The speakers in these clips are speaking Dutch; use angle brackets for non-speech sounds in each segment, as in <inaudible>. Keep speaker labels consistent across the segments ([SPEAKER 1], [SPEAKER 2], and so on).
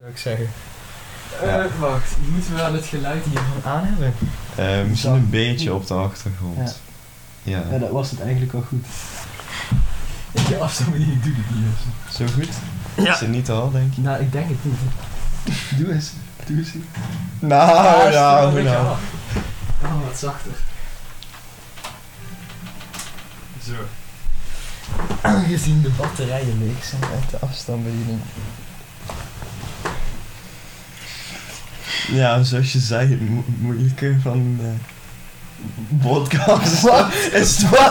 [SPEAKER 1] zou ik zeggen.
[SPEAKER 2] Ja.
[SPEAKER 1] Eh, wacht, moeten we aan het geluid hiervan aan hebben?
[SPEAKER 2] Eh, misschien
[SPEAKER 3] Zacht.
[SPEAKER 2] een beetje op de achtergrond. Ja.
[SPEAKER 3] Ja, dat was het eigenlijk wel goed.
[SPEAKER 1] Ik je afstandsbediening doe het niet eens.
[SPEAKER 2] Zo goed?
[SPEAKER 1] Ja.
[SPEAKER 2] Is het niet al, denk ik?
[SPEAKER 1] Nou, ik denk het niet.
[SPEAKER 3] Doe eens. Doe eens.
[SPEAKER 2] Nou,
[SPEAKER 1] Ah, stel
[SPEAKER 2] nou,
[SPEAKER 1] dat je
[SPEAKER 2] nou.
[SPEAKER 1] af. Oh, wat zachter. Zo. Aangezien de batterijen leeg zijn uit de afstandsbediening.
[SPEAKER 2] Ja, zoals je zei, het mo- moeilijke van eh, de podcast is
[SPEAKER 3] <laughs>
[SPEAKER 2] wat?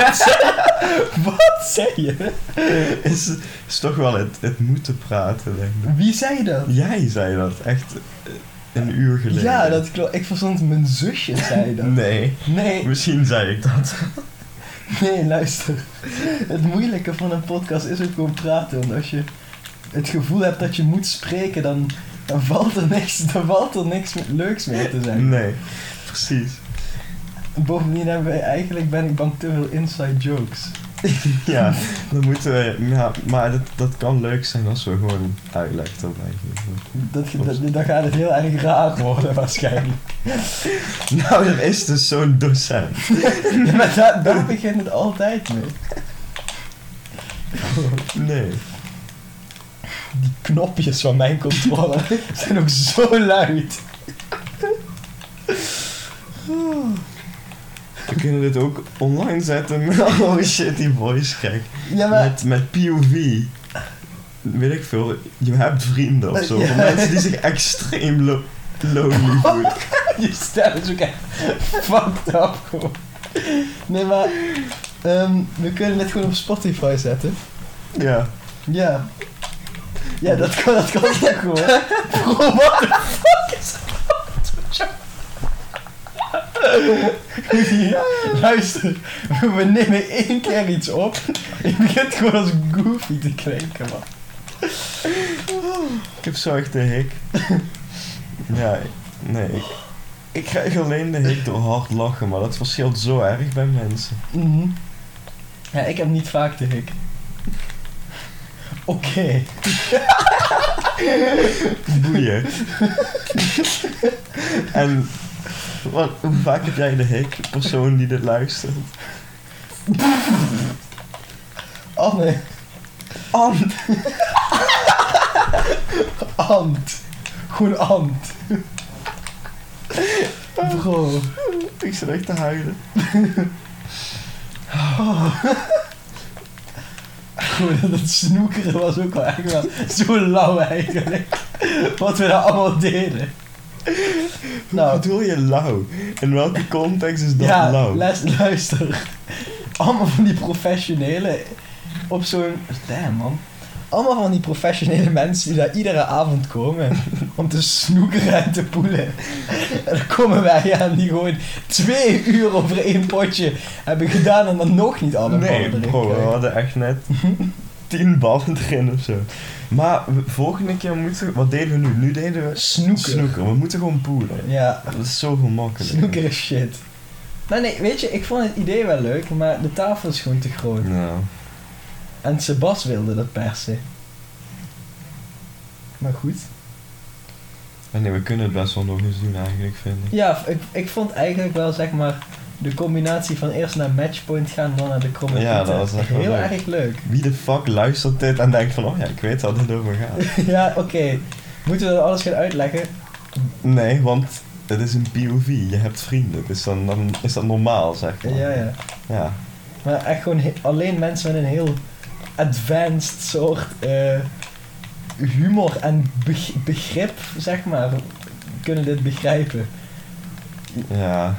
[SPEAKER 2] wat zeg je? <laughs> Is, is toch wel het, het moeten praten, denk ik.
[SPEAKER 3] Wie zei dat?
[SPEAKER 2] Jij zei dat, echt eh, een uur geleden.
[SPEAKER 3] Ja, dat klopt. Ik verstond mijn zusje zei dat.
[SPEAKER 2] Nee,
[SPEAKER 3] Nee,
[SPEAKER 2] <laughs> misschien zei ik dat.
[SPEAKER 3] nee, luister. Het moeilijke van een podcast is ook gewoon praten. Want als je het gevoel hebt dat je moet spreken, dan, dan, valt, er niks, dan valt er niks me- leuks meer te zijn.
[SPEAKER 2] Nee, precies.
[SPEAKER 3] Bovendien hebben wij eigenlijk, ben ik bang, te veel inside jokes.
[SPEAKER 2] Ja, dan moeten we. Ja, maar dat, dat kan leuk zijn als we gewoon uitleg dan eigenlijk.
[SPEAKER 3] Dat, ge- dat, dan gaat het heel erg raar worden <laughs> waarschijnlijk.
[SPEAKER 2] <laughs> Nou, er is dus zo'n docent.
[SPEAKER 3] Ja, maar daar, daar begint het altijd mee.
[SPEAKER 2] Nee.
[SPEAKER 3] Die knopjes van mijn controller <laughs> zijn ook zo luid.
[SPEAKER 2] We kunnen dit ook online zetten. <laughs> Oh shit, die voice gek.
[SPEAKER 3] Ja, maar...
[SPEAKER 2] Met, met POV. Weet ik veel, je hebt vrienden of zo.
[SPEAKER 3] Ja.
[SPEAKER 2] Van mensen die zich extreem lo lonely
[SPEAKER 3] <laughs>
[SPEAKER 2] voelen.
[SPEAKER 3] <laughs> Je stem is ook echt fucked up gewoon. Nee, maar... ehm, we kunnen dit gewoon op Spotify zetten.
[SPEAKER 2] Ja.
[SPEAKER 3] Ja. Ja, dat kan, dat kan ook gewoon. Bro, what the fuck is dat? Luister, we nemen één keer iets op. Je begint gewoon als goofy te klinken, man.
[SPEAKER 2] Ik heb zo echt de hik. Ja, ik- nee. Ik, ik krijg alleen de hik door hard lachen, maar dat verschilt zo erg bij mensen.
[SPEAKER 3] Mhm. Ja, ik heb niet vaak de hik. Oké. <laughs>
[SPEAKER 2] boeien. en wat, hoe vaak heb jij de hik, de persoon die dit luistert?
[SPEAKER 3] Anne. <laughs> Ant. Ant. Gewoon ant. Bro.
[SPEAKER 2] Ik zit echt te huilen.
[SPEAKER 3] Gewoon dat snoekeren was ook al echt wel zo lauw eigenlijk. Wat we daar allemaal deden.
[SPEAKER 2] Nou.
[SPEAKER 3] Nou,
[SPEAKER 2] Wat bedoel je lauw? In welke context is dat
[SPEAKER 3] ja,
[SPEAKER 2] lauw?
[SPEAKER 3] les- luister. Allemaal van die professionele op zo'n... Damn, man. Allemaal van die professionele mensen die daar iedere avond komen om te snoekeren en te poelen. En dan komen wij aan die gewoon twee uur over één potje hebben gedaan en dan nog niet allemaal
[SPEAKER 2] nee, bro, we hadden echt net
[SPEAKER 3] <laughs>
[SPEAKER 2] tien ballen erin of zo. Maar we- volgende keer moeten we... Wat deden we nu? Nu deden we
[SPEAKER 3] Snoeken.
[SPEAKER 2] snoeken. We moeten gewoon poelen.
[SPEAKER 3] Ja,
[SPEAKER 2] Dat is zo gemakkelijk.
[SPEAKER 3] Snoeker is shit. Maar nee, weet je, ik vond het idee wel leuk, maar de tafel is gewoon te groot.
[SPEAKER 2] Nou,
[SPEAKER 3] En Sebas wilde dat per se. Maar goed.
[SPEAKER 2] En nee, we kunnen het best wel nog eens doen eigenlijk, vind ik.
[SPEAKER 3] Ja, ik, ik vond eigenlijk wel, zeg maar, de combinatie van eerst naar matchpoint gaan, dan naar de kromme
[SPEAKER 2] Ja,
[SPEAKER 3] Pieten.
[SPEAKER 2] dat was echt wel
[SPEAKER 3] Heel
[SPEAKER 2] leuk.
[SPEAKER 3] erg leuk. <laughs>
[SPEAKER 2] Wie de fuck luistert dit en denkt van, oh ja, ik weet waar dit over gaat.
[SPEAKER 3] <laughs> ja, oké. Moeten we dat alles gaan uitleggen?
[SPEAKER 2] Nee, want het is een POV. Je hebt vrienden. Dus dan, dan is dat normaal, zeg maar.
[SPEAKER 3] Ja, ja.
[SPEAKER 2] Ja.
[SPEAKER 3] Maar echt gewoon he- alleen mensen met een heel advanced soort eh, humor en beg- begrip, zeg maar, kunnen dit begrijpen.
[SPEAKER 2] ja.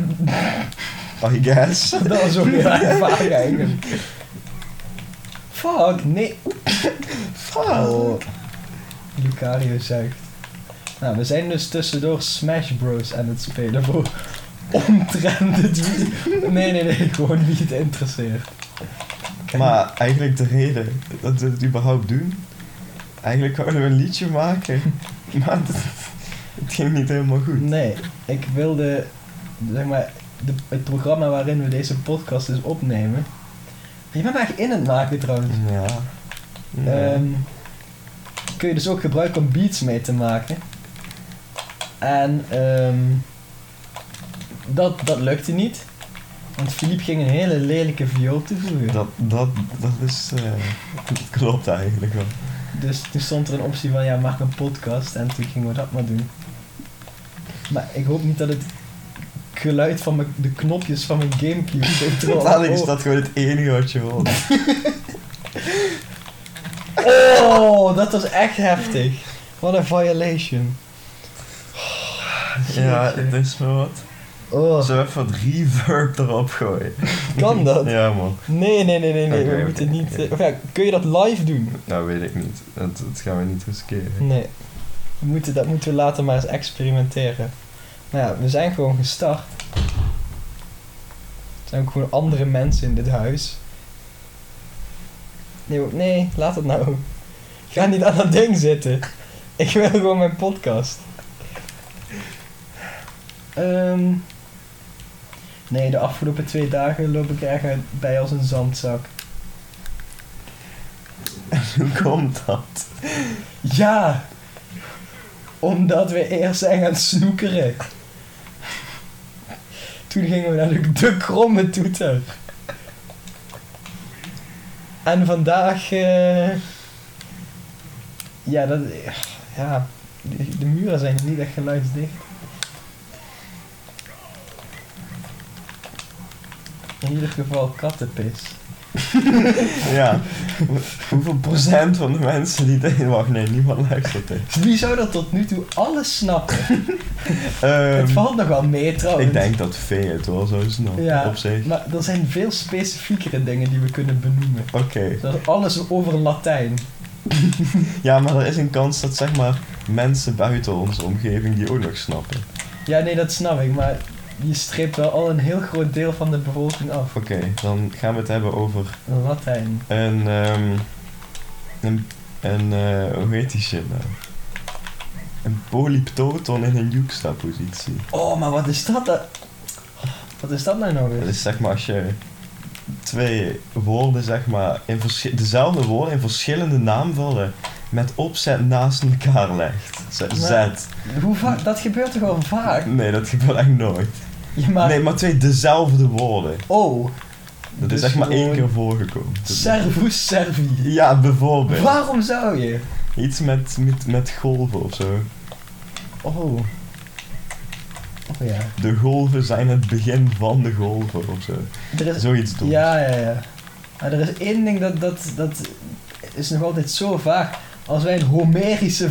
[SPEAKER 2] I guess.
[SPEAKER 3] Dat was ook heel erg vaag eigenlijk. Fuck, nee. Oh. Lucario zuigt. Nou, we zijn dus tussendoor Smash Bros. aan het spelen voor omtrent het wie... Nee, nee, nee, gewoon wie het interesseert.
[SPEAKER 2] Maar eigenlijk de reden dat we het überhaupt doen... Eigenlijk wilden we een liedje maken. <laughs> Maar het, het ging niet helemaal goed.
[SPEAKER 3] Nee, ik wilde, zeg maar, de, het programma waarin we deze podcast dus opnemen. Je bent me echt in het maken trouwens.
[SPEAKER 2] Ja.
[SPEAKER 3] Ehm, kun je dus ook gebruiken om beats mee te maken. En ehm, dat, dat lukte niet. Want Philippe ging een hele lelijke viool toevoegen.
[SPEAKER 2] Dat, dat, dat is... eh, dat klopt eigenlijk wel.
[SPEAKER 3] Dus toen stond er een optie van ja, maak een podcast en toen gingen we dat maar doen. Maar ik hoop niet dat het geluid van mijn- de knopjes van mijn
[SPEAKER 2] <laughs>
[SPEAKER 3] Gamecube
[SPEAKER 2] Totaal is
[SPEAKER 3] controller.
[SPEAKER 2] dat gewoon het enige wat je wil.
[SPEAKER 3] <laughs> Oh, dat was echt heftig. Wat een violation.
[SPEAKER 2] Ja, het is me wat.
[SPEAKER 3] Oh,
[SPEAKER 2] Zullen we even wat reverb erop gooien?
[SPEAKER 3] kan dat?
[SPEAKER 2] <laughs> Ja man,
[SPEAKER 3] Nee, nee, nee, nee, nee.
[SPEAKER 2] Oké,
[SPEAKER 3] we
[SPEAKER 2] oké,
[SPEAKER 3] moeten niet.
[SPEAKER 2] oké.
[SPEAKER 3] eh, Of ja, kun je dat live doen?
[SPEAKER 2] nou weet ik niet. Dat, dat gaan we niet
[SPEAKER 3] <laughs>
[SPEAKER 2] riskeren.
[SPEAKER 3] Nee. We moeten, dat moeten we later maar eens experimenteren. Nou ja, we zijn gewoon gestart. Er zijn ook gewoon andere mensen in dit huis. Nee, wa- nee laat het nou. Ga niet aan dat ding zitten. Ik wil gewoon mijn podcast. Ehm, nee, de afgelopen twee dagen loop ik er echt uit- bij als een zandzak.
[SPEAKER 2] Hoe komt dat?
[SPEAKER 3] Ja, omdat we eerst zijn gaan snoekeren. Toen gingen we naar de, de kromme toeter. En vandaag, eh, ja, dat, ja, de, de muren zijn niet echt geluidsdicht. In ieder geval kattenpis.
[SPEAKER 2] Ja. Hoeveel procent van de mensen die dit... Wacht, nee, niemand luistert dit.
[SPEAKER 3] Wie zou dat tot nu toe alles snappen?
[SPEAKER 2] Ehm,
[SPEAKER 3] het valt nog wel mee trouwens.
[SPEAKER 2] ik denk dat V het wel zo snel
[SPEAKER 3] Ja.
[SPEAKER 2] op zich.
[SPEAKER 3] Maar er zijn veel specifiekere dingen die we kunnen benoemen.
[SPEAKER 2] Oké.
[SPEAKER 3] Zoals alles over Latijn.
[SPEAKER 2] Ja, maar er is een kans dat zeg maar mensen buiten onze omgeving die ook nog snappen.
[SPEAKER 3] Ja, nee, dat snap ik, maar je streept wel al een heel groot deel van de bevolking af.
[SPEAKER 2] Oké, dan gaan we het hebben over
[SPEAKER 3] Latijn.
[SPEAKER 2] een... ehm een, een eh, hoe heet die shit nou? Een polyptoton in een juxtapositie.
[SPEAKER 3] Oh, maar wat is dat? dan- Wat is dat nou nog
[SPEAKER 2] Dat
[SPEAKER 3] eens?
[SPEAKER 2] is zeg maar als je twee woorden, zeg maar, in verschi- dezelfde woorden in verschillende naamvallen met opzet naast elkaar legt. Z-
[SPEAKER 3] Maar-
[SPEAKER 2] Zet.
[SPEAKER 3] Hoe vaak? Dat gebeurt toch wel vaak?
[SPEAKER 2] Nee, dat gebeurt echt nooit.
[SPEAKER 3] Ja, Ah, maar...
[SPEAKER 2] Nee, maar twee dezelfde woorden.
[SPEAKER 3] Oh.
[SPEAKER 2] Dat
[SPEAKER 3] Dus
[SPEAKER 2] is echt maar één
[SPEAKER 3] gewoon
[SPEAKER 2] keer voorgekomen. Dat-
[SPEAKER 3] Servus servi.
[SPEAKER 2] Ja, bijvoorbeeld.
[SPEAKER 3] Waarom zou je?
[SPEAKER 2] Iets met, met, met golven of zo.
[SPEAKER 3] Oh. Oh ja.
[SPEAKER 2] De golven zijn het begin van de golven of zo.
[SPEAKER 3] Er is
[SPEAKER 2] Zoiets doen.
[SPEAKER 3] Ja, ja, ja. Maar er is één ding dat, dat, dat is nog altijd zo vaag. Als wij een Homerische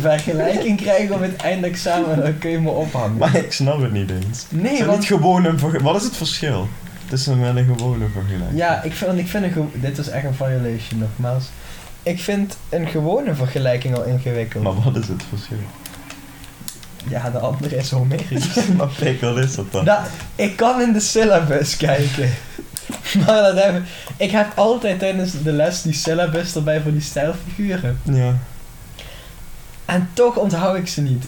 [SPEAKER 2] <laughs>
[SPEAKER 3] vergelijking krijgen op het eindexamen, dan kun je me ophangen.
[SPEAKER 2] Maar ik snap het niet eens.
[SPEAKER 3] nee,
[SPEAKER 2] Zijn
[SPEAKER 3] want...
[SPEAKER 2] niet gewoon een verge- Wat is het verschil tussen wel een gewone vergelijking?
[SPEAKER 3] Ja, ik vind, ik vind een... ge- Dit is echt een violation, nogmaals. Ik vind een gewone vergelijking al ingewikkeld.
[SPEAKER 2] Maar wat is het verschil? <laughs>
[SPEAKER 3] Ja, de andere is Homerisch.
[SPEAKER 2] maar pik, wat is dat dan?
[SPEAKER 3] Nou, ik kan in de syllabus kijken. <laughs> Maar dat heb, ik heb altijd tijdens de les die syllabus erbij voor die stijlfiguren.
[SPEAKER 2] Ja.
[SPEAKER 3] En toch onthoud ik ze niet.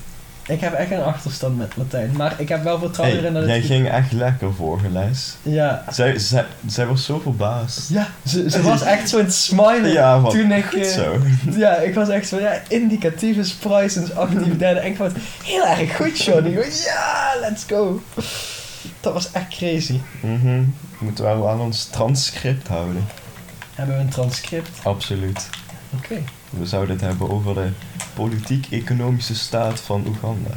[SPEAKER 3] Ik heb echt een achterstand met Latijn. Maar ik heb wel vertrouwen
[SPEAKER 2] Hey,
[SPEAKER 3] erin dat het...
[SPEAKER 2] jij
[SPEAKER 3] goed-
[SPEAKER 2] ging echt lekker vorige les.
[SPEAKER 3] Ja.
[SPEAKER 2] Zij, zij, zij was zo verbaasd.
[SPEAKER 3] Ja, ze, ze
[SPEAKER 2] <laughs>
[SPEAKER 3] was echt zo'n smiler.
[SPEAKER 2] Ja, wat
[SPEAKER 3] Toen ik...
[SPEAKER 2] goed
[SPEAKER 3] eh,
[SPEAKER 2] zo.
[SPEAKER 3] Ja, ik was echt zo... Ja, indicatief is price is
[SPEAKER 2] <laughs>
[SPEAKER 3] actief derde. En ik vond het heel erg goed, Johnny. Ja, let's go. Dat was echt crazy.
[SPEAKER 2] Mhm. Moeten we wel aan ons transcript houden.
[SPEAKER 3] Hebben we een transcript?
[SPEAKER 2] Absoluut.
[SPEAKER 3] Oké.
[SPEAKER 2] We zouden het hebben over de politiek-economische staat van Oeganda.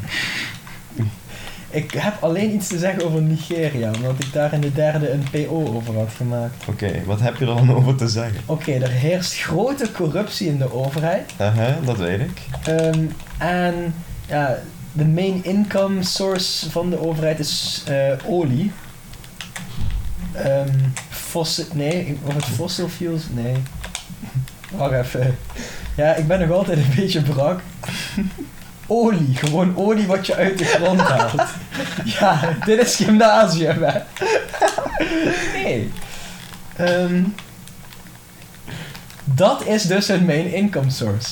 [SPEAKER 3] Ik heb alleen iets te zeggen over Nigeria. Omdat ik daar in de derde een PO over had gemaakt.
[SPEAKER 2] Oké, wat heb je er dan over te zeggen?
[SPEAKER 3] Oké, er heerst grote corruptie in de overheid.
[SPEAKER 2] Aha, Eh, dat weet ik.
[SPEAKER 3] Ehm, en ja, de main income source van de overheid is eh, olie. Ehm fossil, nee, of het fossil fuels, nee. <laughs> Wacht even. Ja, ik ben nog altijd een beetje brak. Olie, gewoon olie wat je uit de grond haalt. Ja, dit is gymnasium, hè. Nee. Ehm, dat is dus hun main income source.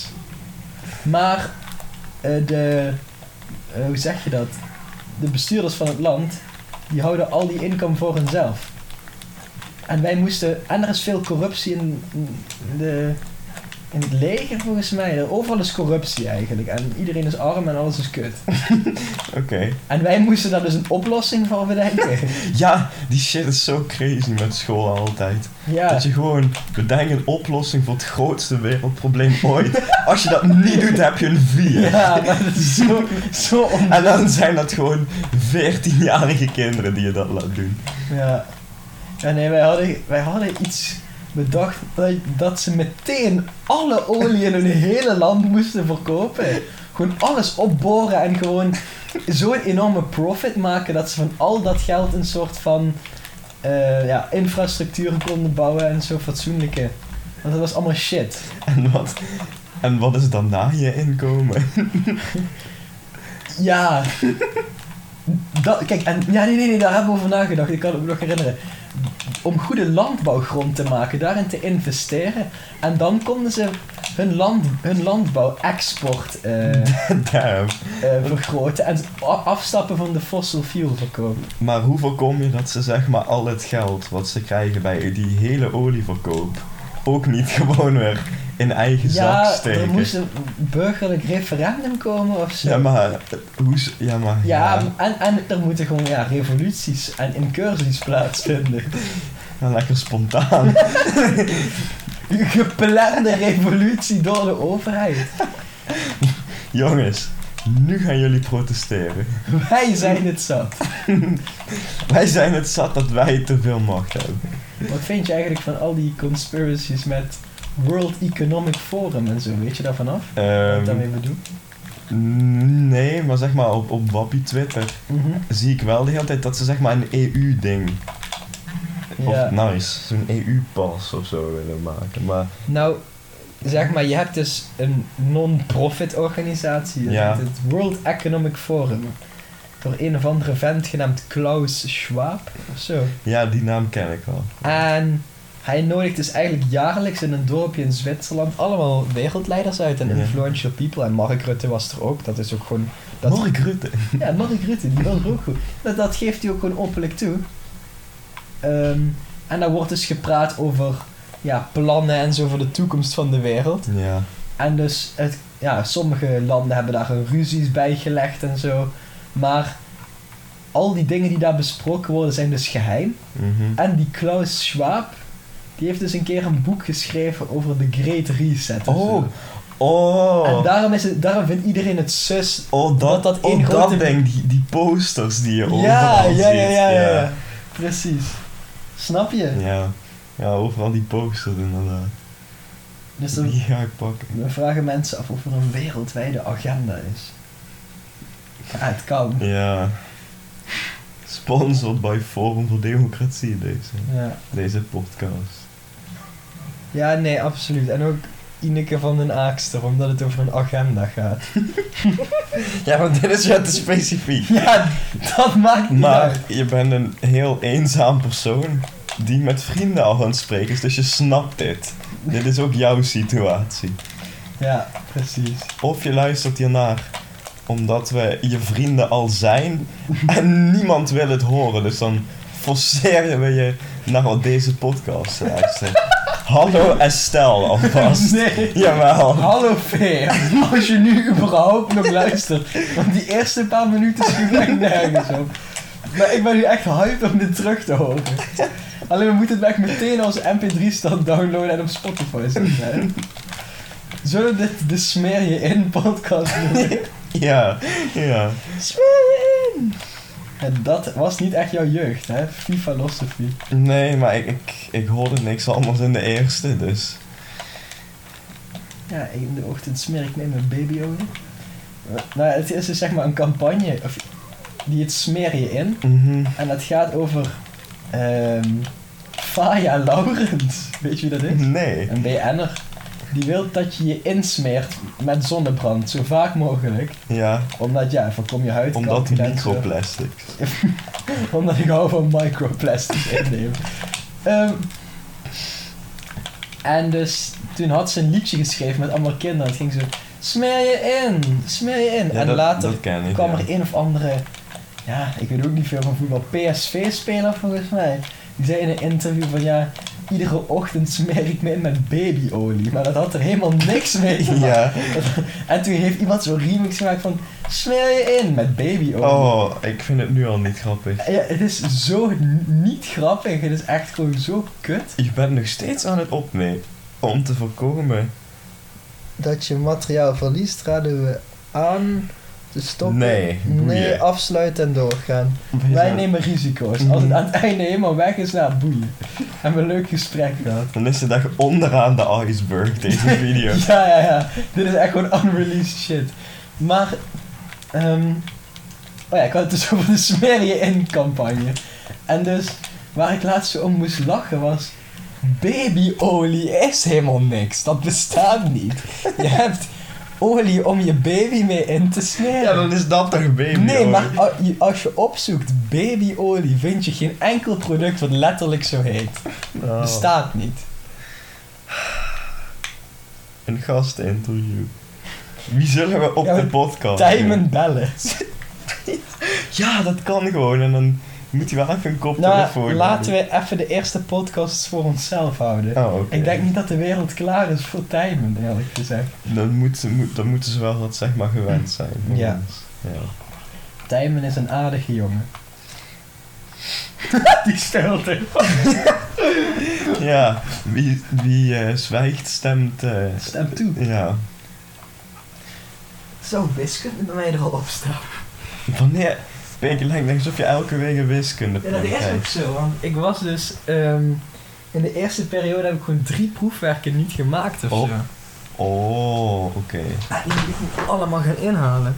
[SPEAKER 3] Maar eh, de, eh, hoe zeg je dat? De bestuurders van het land, die houden al die inkomen voor hunzelf. En wij moesten, en er is veel corruptie in in de in het leger volgens mij. er- Overal is corruptie eigenlijk. En iedereen is arm en alles is kut.
[SPEAKER 2] Oké.
[SPEAKER 3] En wij moesten daar dus een oplossing voor bedenken. <laughs>
[SPEAKER 2] Ja, die shit is zo crazy met school altijd.
[SPEAKER 3] Ja.
[SPEAKER 2] Dat je gewoon bedenkt een oplossing voor het grootste wereldprobleem ooit. <laughs> Als je dat niet doet, heb je een vier.
[SPEAKER 3] Ja, maar dat is zo, zo on...
[SPEAKER 2] En dan zijn dat gewoon 14-jarige kinderen die je dat laat doen.
[SPEAKER 3] Ja. Ja, nee, wij hadden, wij hadden iets bedacht dat, dat ze meteen alle olie in hun hele land moesten verkopen. Gewoon alles opboren en gewoon zo'n enorme profit maken dat ze van al dat geld een soort van eh, ja, infrastructuur konden bouwen en zo fatsoenlijke. Want dat was allemaal shit.
[SPEAKER 2] En wat, en wat is dan na je inkomen? <laughs>
[SPEAKER 3] Ja. Dat, kijk, en, ja, nee, nee, nee, daar hebben we over nagedacht. Ik kan het me nog herinneren. Om goede landbouwgrond te maken, daarin te investeren. En dan konden ze hun, land, hun landbouw-export eh,
[SPEAKER 2] <laughs>
[SPEAKER 3] eh,
[SPEAKER 2] Damn.
[SPEAKER 3] vergroten. En a- afstappen van de fossil fuel verkoop.
[SPEAKER 2] Maar hoe voorkom je dat ze zeg maar al het geld wat ze krijgen bij die hele olieverkoop ook niet gewoon weer in eigen
[SPEAKER 3] Ja,
[SPEAKER 2] zak
[SPEAKER 3] er
[SPEAKER 2] steken?
[SPEAKER 3] moest een burgerlijk referendum komen of zo.
[SPEAKER 2] Ja, maar hoe? z- Ja, maar.
[SPEAKER 3] Ja, en, en er moeten gewoon ja, revoluties en incursies plaatsvinden.
[SPEAKER 2] Ja, lekker spontaan. <laughs>
[SPEAKER 3] Een geplande revolutie door de overheid.
[SPEAKER 2] Jongens, nu gaan jullie protesteren.
[SPEAKER 3] <laughs> Wij zijn het zat.
[SPEAKER 2] Wij zijn het zat dat wij te veel macht hebben.
[SPEAKER 3] Wat vind je eigenlijk van al die conspiracies met World Economic Forum en zo? Weet je daarvan af? Wat ik
[SPEAKER 2] Ehm,
[SPEAKER 3] daarmee bedoel?
[SPEAKER 2] n- nee, maar zeg maar op, op Wappie Twitter
[SPEAKER 3] Mhm.
[SPEAKER 2] zie ik wel de hele tijd dat ze zeg maar een EU-ding.
[SPEAKER 3] Ja.
[SPEAKER 2] Of nice, zo'n EU-pas of zo willen maken. Maar
[SPEAKER 3] Nou, zeg maar, je hebt dus een non-profit organisatie. Dat
[SPEAKER 2] Ja.
[SPEAKER 3] heet Het World Economic Forum. Door een of andere vent genaamd Klaus Schwab of zo.
[SPEAKER 2] ja, die naam ken ik wel.
[SPEAKER 3] En hij nodigt dus eigenlijk jaarlijks in een dorpje in Zwitserland allemaal wereldleiders uit en
[SPEAKER 2] Ja.
[SPEAKER 3] influential people. En Mark Rutte was er ook. Dat is ook gewoon. Dat
[SPEAKER 2] Mark Rutte.
[SPEAKER 3] Ja, Mark Rutte, die was er ook goed. Dat, dat geeft hij ook gewoon openlijk toe. Ehm, en daar wordt dus gepraat over ja, plannen en zo voor de toekomst van de wereld.
[SPEAKER 2] Ja.
[SPEAKER 3] En dus, het, ja, sommige landen hebben daar hun ruzies bij gelegd en zo. Maar al die dingen die daar besproken worden zijn dus geheim.
[SPEAKER 2] Mhm.
[SPEAKER 3] En die Klaus Schwab, die heeft dus een keer een boek geschreven over de Great Reset. en zo.
[SPEAKER 2] Oh, oh.
[SPEAKER 3] En daarom, is het, daarom vindt iedereen het zus
[SPEAKER 2] oh, dat,
[SPEAKER 3] dat één
[SPEAKER 2] oh,
[SPEAKER 3] grote-
[SPEAKER 2] dat ding, die, die posters die je overal
[SPEAKER 3] Ja,
[SPEAKER 2] ziet.
[SPEAKER 3] ja, ja, ja, ja, ja. Precies. Snap je?
[SPEAKER 2] Ja. Ja, overal die posters inderdaad.
[SPEAKER 3] Dus dan,
[SPEAKER 2] Die ga ik pakken.
[SPEAKER 3] we vragen mensen af of er een wereldwijde agenda is. Ja, het kan.
[SPEAKER 2] Ja. Sponsored by Forum voor Democratie deze,
[SPEAKER 3] Ja.
[SPEAKER 2] deze podcast.
[SPEAKER 3] ja, nee, absoluut. En ook Ineke van den Aakster, omdat het over een agenda gaat.
[SPEAKER 2] Ja, want dit is wat te specifiek.
[SPEAKER 3] <laughs> Ja, dat maakt niet uit.
[SPEAKER 2] Maar je bent een heel eenzaam persoon die met vrienden al aan het spreken is, dus je snapt dit. Dit is ook jouw situatie.
[SPEAKER 3] Ja, precies.
[SPEAKER 2] Of je luistert hiernaar omdat we je vrienden al zijn en niemand wil het horen. Dus dan forceren we je naar wat deze podcast te luisteren. Hallo Estelle alvast.
[SPEAKER 3] <laughs> Nee.
[SPEAKER 2] <laughs> Jawel.
[SPEAKER 3] Hallo Veer, <laughs> als je nu überhaupt nog luistert. Want die eerste paar minuten sloeg echt nergens op. Maar ik ben nu echt hyped om dit terug te horen. Alleen we moeten het echt meteen als mp3-stand downloaden en op Spotify zetten. hè. Zullen we dit de Smeer je in podcast noemen?
[SPEAKER 2] Ja, ja.
[SPEAKER 3] <laughs> Smeer je in! En dat was niet echt jouw jeugd, hè? FIFA Losophy.
[SPEAKER 2] Nee, maar ik, ik, ik hoorde niks anders in de eerste, dus.
[SPEAKER 3] Ja, in de ochtend smeer ik mee mijn babyolie. Nou, het is dus zeg maar een campagne of, die het smeer je in.
[SPEAKER 2] Mhm.
[SPEAKER 3] En dat gaat over ehm Faya Laurens. Weet je wie dat is?
[SPEAKER 2] Nee.
[SPEAKER 3] Een BN'er. Die wil dat je je insmeert met zonnebrand, zo vaak mogelijk.
[SPEAKER 2] Ja,
[SPEAKER 3] Omdat ja, voorkom je huid.
[SPEAKER 2] omdat microplastics.
[SPEAKER 3] Omdat ik hou van microplastics <laughs> innemen. Ehm, en dus toen had ze een liedje geschreven met allemaal kinderen. Het ging zo, smeer je in, smeer je in.
[SPEAKER 2] Ja,
[SPEAKER 3] en
[SPEAKER 2] dat,
[SPEAKER 3] later
[SPEAKER 2] dat ken ik.
[SPEAKER 3] kwam
[SPEAKER 2] ja.
[SPEAKER 3] er een of andere, ja, ik weet ook niet veel van voetbal, PSV-speler volgens mij. Die zei in een interview van ja, iedere ochtend smeer ik me in met babyolie. Maar dat had er helemaal niks mee te maken.
[SPEAKER 2] <laughs> <laughs> Ja.
[SPEAKER 3] En toen heeft iemand zo'n remix gemaakt van... Smeer je in met babyolie.
[SPEAKER 2] Oh, ik vind het nu al niet grappig.
[SPEAKER 3] Ja, het is zo n- niet grappig. Het is echt gewoon zo kut.
[SPEAKER 2] Je bent nog steeds aan het opnemen. Om te voorkomen.
[SPEAKER 4] Dat je materiaal verliest, raden we aan te stoppen.
[SPEAKER 2] Nee, boeien.
[SPEAKER 4] Nee, afsluiten en doorgaan.
[SPEAKER 3] Wij nemen risico's. Als het aan het einde helemaal weg is, nou boeien. Hebben we een leuk gesprek gehad.
[SPEAKER 2] Dan is de dag onderaan de iceberg,
[SPEAKER 3] <laughs>
[SPEAKER 2] deze video.
[SPEAKER 3] Ja, ja, ja. Dit is echt gewoon unreleased shit. Maar, ehm oh ja, ik had het dus <laughs> over de smeer je in campagne. En dus, waar ik laatst zo om moest lachen was... Babyolie is helemaal niks. Dat bestaat niet. Je hebt olie om je baby mee in te smeren.
[SPEAKER 2] Ja, dan is dat toch baby.
[SPEAKER 3] Nee,
[SPEAKER 2] hoor.
[SPEAKER 3] maar a- je- als je opzoekt babyolie, vind je geen enkel product wat letterlijk zo heet.
[SPEAKER 2] Oh,
[SPEAKER 3] Bestaat niet.
[SPEAKER 2] Een gastinterview. Wie zullen we op
[SPEAKER 3] Ja,
[SPEAKER 2] de
[SPEAKER 3] maar
[SPEAKER 2] podcast?
[SPEAKER 3] Diamond
[SPEAKER 2] <laughs>
[SPEAKER 3] Balance.
[SPEAKER 2] doen? Ja, dat kan gewoon. En dan moet hij wel even een koptelefoon
[SPEAKER 3] Nou, laten we even de eerste podcasts voor onszelf houden.
[SPEAKER 2] Oh, oké.
[SPEAKER 3] Ik denk niet dat de wereld klaar is voor Diamond, eerlijk gezegd.
[SPEAKER 2] Dan, moet ze, moet, dan moeten ze wel wat zeg maar gewend zijn. van
[SPEAKER 3] Ja.
[SPEAKER 2] ons. ja.
[SPEAKER 3] Diamond is een aardige jongen. <laughs> Die stilte.
[SPEAKER 2] Ja, wie, wie eh, zwijgt stemt... eh,
[SPEAKER 3] Stem toe.
[SPEAKER 2] ja.
[SPEAKER 4] Zo wiskunde bij mij er al op staan.
[SPEAKER 2] Wanneer... Pink, het lijkt alsof je elke week een wiskunde
[SPEAKER 4] Ja, dat is ook zo, want ik was dus... ehm, in de eerste periode heb ik gewoon drie proefwerken niet gemaakt of
[SPEAKER 2] Oh.
[SPEAKER 4] zo.
[SPEAKER 2] Oh, oké.
[SPEAKER 4] Ah, die moet ik nu allemaal gaan inhalen.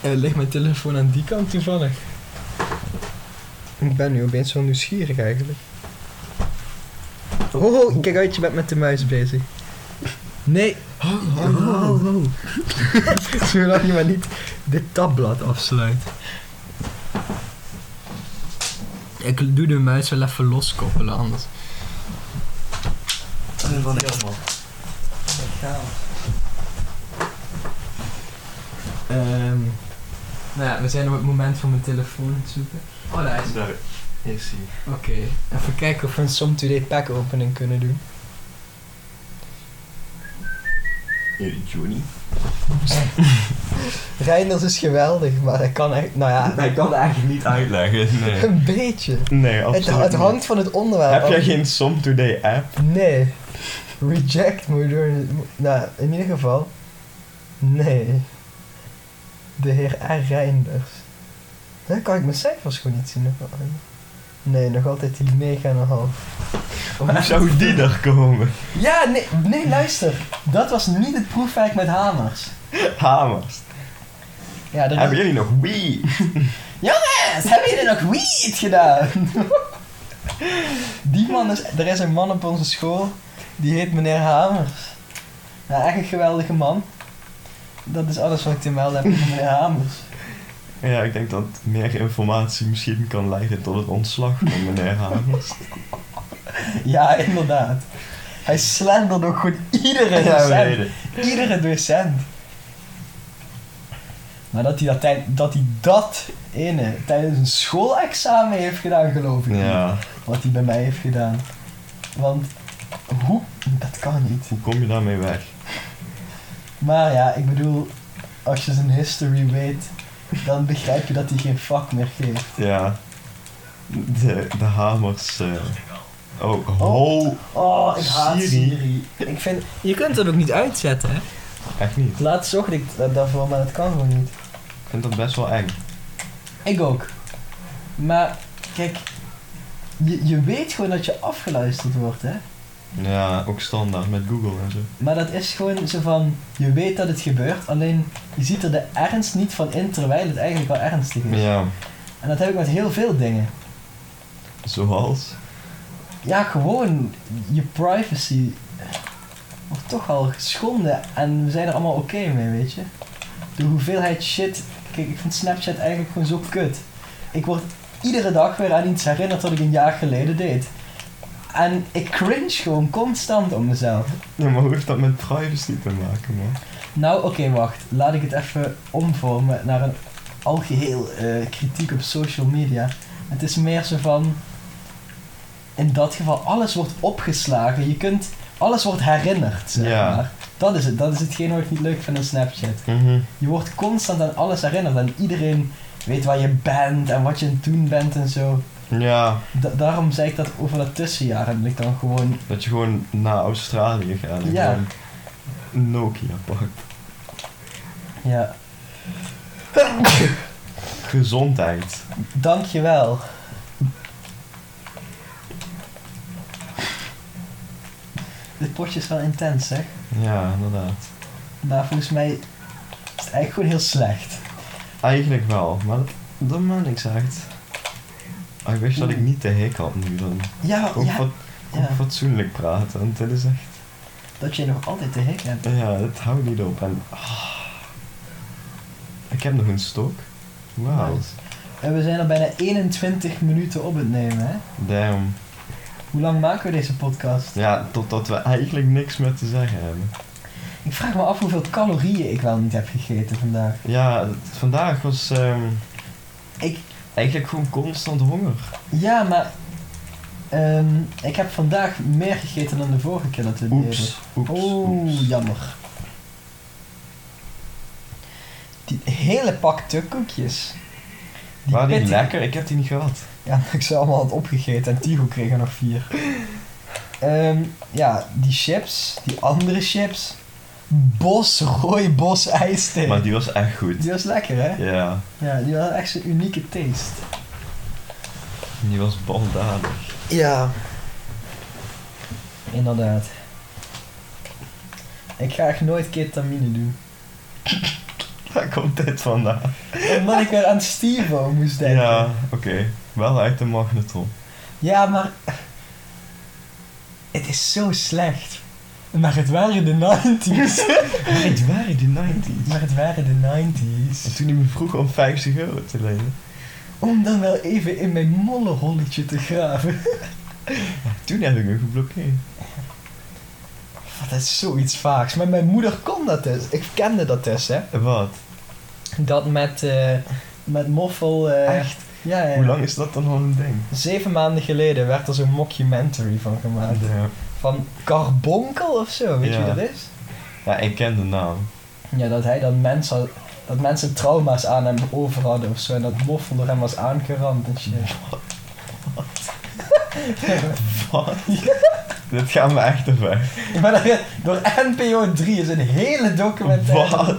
[SPEAKER 4] En ligt Eh, mijn telefoon aan die kant toevallig. Ik ben nu opeens zo nieuwsgierig eigenlijk. Oh, oh, kijk uit, je bent met de muis bezig. Nee. Oh, oh, oh. <laughs> Zodat je maar niet dit tabblad afsluit. Ik doe de muis wel even loskoppelen, anders.
[SPEAKER 2] Van helemaal.
[SPEAKER 4] Ehm nou ja, we zijn op het moment van mijn telefoon aan het zoeken. Oh, daar is het.
[SPEAKER 2] Daar is hij.
[SPEAKER 4] Oké, even kijken of we een Som Today pack opening kunnen doen.
[SPEAKER 2] Eh, Johnny.
[SPEAKER 4] Reinders is geweldig, maar hij kan echt, nou ja,
[SPEAKER 2] Hij kan eigenlijk niet uitleggen. Nee,
[SPEAKER 4] een beetje.
[SPEAKER 2] nee absoluut
[SPEAKER 4] Het, het
[SPEAKER 2] niet.
[SPEAKER 4] hangt van het onderwerp
[SPEAKER 2] Heb
[SPEAKER 4] af.
[SPEAKER 3] Oh.
[SPEAKER 2] jij geen Som Today app?
[SPEAKER 4] Nee. Reject moderne... Nou, in ieder geval... Nee. De heer R. Reinders. Hè, kan ik mijn cijfers gewoon niet zien? nog wel? Nee, nog altijd die mega en een half.
[SPEAKER 2] Hoe zou die er komen?
[SPEAKER 3] Ja, nee, nee, luister. Dat was niet het proefwerk met hamers.
[SPEAKER 2] Hamers.
[SPEAKER 3] Ja, dat
[SPEAKER 2] Hebben jullie nog Wii?
[SPEAKER 3] Yes, hebben jullie nog weed gedaan? Die man is, er is een man op onze school, die heet meneer Hamers. Nou, echt een geweldige man. Dat is alles wat ik te melden heb over meneer Hamers.
[SPEAKER 2] Ja, ik denk dat meer informatie misschien kan leiden tot het ontslag van meneer Hamers.
[SPEAKER 3] Ja, inderdaad. Hij slenderde ook gewoon iedere
[SPEAKER 2] <laughs> Ja, we
[SPEAKER 3] docent.
[SPEAKER 2] weten.
[SPEAKER 3] Iedere docent. Maar dat hij dat, tij- dat, hij dat ene tijdens een schoolexamen heeft gedaan, geloof ik niet.
[SPEAKER 2] Ja,
[SPEAKER 3] Wat hij bij mij heeft gedaan. Want hoe? Dat kan niet.
[SPEAKER 2] hoe kom je daarmee weg?
[SPEAKER 3] Maar ja, ik bedoel, als je zijn history weet, dan begrijp je dat hij geen vak meer geeft.
[SPEAKER 2] Ja, de, de Hamers... eh, Oh, ho!
[SPEAKER 3] Oh, ik haat
[SPEAKER 2] Siri.
[SPEAKER 3] Siri.
[SPEAKER 4] Ik vind... Je kunt dat ook niet uitzetten, hè?
[SPEAKER 2] Echt niet.
[SPEAKER 3] Laatst zocht ik da- daarvoor, maar dat kan gewoon niet.
[SPEAKER 2] Ik vind dat best wel eng.
[SPEAKER 3] Ik ook. Maar, kijk, je, je weet gewoon dat je afgeluisterd wordt, hè.
[SPEAKER 2] Ja, ook standaard met Google en zo.
[SPEAKER 3] Maar dat is gewoon zo van, je weet dat het gebeurt, alleen je ziet er de ernst niet van in, terwijl het eigenlijk wel ernstig is.
[SPEAKER 2] Ja,
[SPEAKER 3] En dat heb ik met heel veel dingen.
[SPEAKER 2] zoals...
[SPEAKER 3] Ja, gewoon je privacy wordt toch al geschonden en we zijn er allemaal oké mee, weet je. De hoeveelheid shit. Kijk, ik vind Snapchat eigenlijk gewoon zo kut. Ik word iedere dag weer aan iets herinnerd dat ik een jaar geleden deed. En ik cringe gewoon constant om mezelf.
[SPEAKER 2] Ja, maar hoe heeft dat met privacy te maken, man?
[SPEAKER 3] Nou, oké, wacht. Laat ik het even omvormen naar een algeheel eh, kritiek op social media. Het is meer zo van... in dat geval alles wordt opgeslagen. Je kunt, alles wordt herinnerd, zeg
[SPEAKER 2] Ja.
[SPEAKER 3] maar. Dat is het. Dat is hetgeen wat ik niet leuk vind aan Snapchat.
[SPEAKER 2] Mhm.
[SPEAKER 3] Je wordt constant aan alles herinnerd en iedereen weet waar je bent en wat je aan het doen bent en zo.
[SPEAKER 2] Ja,
[SPEAKER 3] Da- daarom zei ik dat over dat tussenjaar en dat ik dan gewoon...
[SPEAKER 2] dat je gewoon naar Australië gaat en
[SPEAKER 3] Ja.
[SPEAKER 2] gewoon een Nokia pakt.
[SPEAKER 3] Ja,
[SPEAKER 2] Gezondheid.
[SPEAKER 3] dankjewel. Dit potje is wel intens, zeg.
[SPEAKER 2] Ja, inderdaad.
[SPEAKER 3] Maar volgens mij is het eigenlijk gewoon heel slecht.
[SPEAKER 2] Eigenlijk wel, maar dat, dat maakt niks uit. Ah, Ik wist dat ik niet de hik had nu dan.
[SPEAKER 3] Ja,
[SPEAKER 2] Ook,
[SPEAKER 3] ja,
[SPEAKER 2] fat- ook
[SPEAKER 3] ja.
[SPEAKER 2] fatsoenlijk praten, want dit is echt...
[SPEAKER 3] dat je nog altijd de hik hebt.
[SPEAKER 2] Ja, het houdt niet op en... ah. ik heb nog een stok. Wauw.
[SPEAKER 3] Nice. En we zijn al bijna 21 minuten op het nemen, hè?
[SPEAKER 2] Damn.
[SPEAKER 3] Hoe lang maken we deze podcast?
[SPEAKER 2] Ja, totdat we eigenlijk niks meer te zeggen hebben.
[SPEAKER 3] Ik vraag me af hoeveel calorieën ik wel niet heb gegeten vandaag.
[SPEAKER 2] Ja, het- vandaag was ehm,
[SPEAKER 3] Ik,
[SPEAKER 2] eigenlijk gewoon constant honger.
[SPEAKER 3] ja, maar ehm, ik heb vandaag meer gegeten dan de vorige keer dat we het deden.
[SPEAKER 2] Oeps, oeps,
[SPEAKER 3] Oh,
[SPEAKER 2] oeps.
[SPEAKER 3] jammer.
[SPEAKER 4] Die hele pak tukkoekjes.
[SPEAKER 2] Waren die
[SPEAKER 3] pittige-
[SPEAKER 2] lekker? Ik heb die niet
[SPEAKER 3] <laughs>
[SPEAKER 2] gehad.
[SPEAKER 4] Ja, <laughs> ik ze allemaal had opgegeten en Tigo kreeg er nog vier. Ehm, ja, die chips, die andere chips. Bos, rooi bos ijsthee.
[SPEAKER 2] Maar die was echt goed.
[SPEAKER 3] Die was lekker, hè?
[SPEAKER 2] Ja,
[SPEAKER 3] Ja, die had echt zijn unieke taste.
[SPEAKER 2] die was baldadig. <laughs>
[SPEAKER 4] Ja.
[SPEAKER 3] Inderdaad. Ik ga echt nooit ketamine doen.
[SPEAKER 2] Waar komt dit vandaan?
[SPEAKER 3] Omdat ik weer aan Stevo moest denken.
[SPEAKER 2] Ja, oké. Wel uit de magnetron.
[SPEAKER 3] Ja, maar
[SPEAKER 4] Het is zo slecht. Maar het waren de
[SPEAKER 2] <laughs>
[SPEAKER 4] 90s.
[SPEAKER 2] Het waren de 90s.
[SPEAKER 4] maar het waren de 90s.
[SPEAKER 2] Toen hij me vroeg om 50 euro te lenen.
[SPEAKER 4] Om dan wel even in mijn mollenholletje te graven.
[SPEAKER 2] Toen heb ik hem geblokkeerd.
[SPEAKER 4] Wat, dat is zoiets vaags. Maar mijn moeder kon dat dus. Ik kende dat dus, hè.
[SPEAKER 2] Wat?
[SPEAKER 4] Dat met... eh,
[SPEAKER 3] met moffel... eh,
[SPEAKER 4] Echt?
[SPEAKER 3] Ja, ja.
[SPEAKER 2] Hoe lang is dat dan al een ding?
[SPEAKER 4] zeven maanden geleden werd er zo'n mockumentary van gemaakt.
[SPEAKER 2] Ja.
[SPEAKER 4] Van Carbonkel of zo, weet je
[SPEAKER 2] Ja.
[SPEAKER 4] wie dat is?
[SPEAKER 2] ja, ik ken de naam.
[SPEAKER 3] Ja, dat hij dan mensen, dat mensen trauma's aan hem over hadden of zo. En dat moffel door hem was aangerand en shit.
[SPEAKER 2] Wat? <laughs> Dit gaan we echt te ver.
[SPEAKER 3] Maar dat, door NPO 3 is een hele documentaire.
[SPEAKER 2] Wat?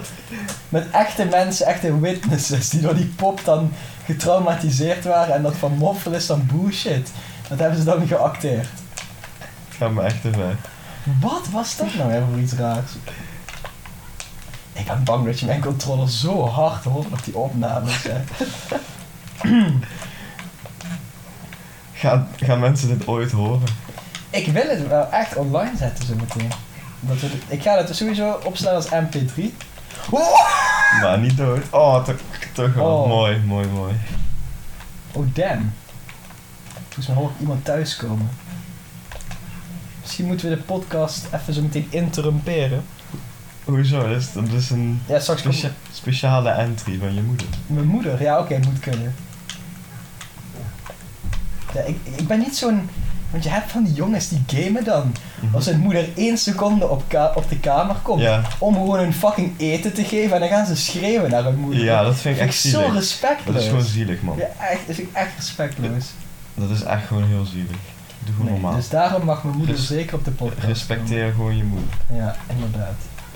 [SPEAKER 3] Met echte mensen, echte witnesses, die door die pop dan getraumatiseerd waren. En dat van moffel is dan bullshit. Dat hebben ze dan geacteerd.
[SPEAKER 2] Gaan we echt te ver.
[SPEAKER 3] Wat was dat nou weer voor iets raars? Ik ben bang dat je mijn controller zo hard hoort op die opnames. Hè.
[SPEAKER 2] Gaan, gaan mensen dit ooit horen?
[SPEAKER 3] Ik wil het wel echt online zetten zo meteen. Dat we- ik ga het sowieso opslaan als MP3. Oh,
[SPEAKER 2] Maar niet dood. Oh, toch, toch wel.
[SPEAKER 3] Oh.
[SPEAKER 2] Mooi, mooi, mooi.
[SPEAKER 3] oh damn. Volgens mij hoor ik iemand thuiskomen.
[SPEAKER 4] Misschien moeten we de podcast even zo meteen interrumperen.
[SPEAKER 2] Hoezo? Dat is, dat is een
[SPEAKER 3] Ja, straks komt
[SPEAKER 2] specia- speciale entry van je moeder.
[SPEAKER 3] mijn moeder. Ja, oké, moet kunnen. Ja, ik, ik ben niet zo'n... Want je hebt van die jongens die gamen dan.
[SPEAKER 2] Mhm.
[SPEAKER 3] Als hun moeder één seconde op, ka- op de kamer komt.
[SPEAKER 2] Ja.
[SPEAKER 3] Om gewoon hun fucking eten te geven. En dan gaan ze schreeuwen naar hun moeder.
[SPEAKER 2] ja, dat vind ik
[SPEAKER 3] vind
[SPEAKER 2] echt
[SPEAKER 3] ik zo
[SPEAKER 2] zielig. Dat
[SPEAKER 3] respectloos.
[SPEAKER 2] is gewoon zielig, man.
[SPEAKER 3] Ja, echt, dat vind ik echt respectloos.
[SPEAKER 2] Dat is echt gewoon heel zielig. Doe gewoon
[SPEAKER 3] Nee,
[SPEAKER 2] normaal.
[SPEAKER 3] dus daarom mag mijn moeder
[SPEAKER 2] Res-
[SPEAKER 3] zeker op de podcast.
[SPEAKER 2] Respecteer gewoon je moeder.
[SPEAKER 3] komen. Ja, inderdaad.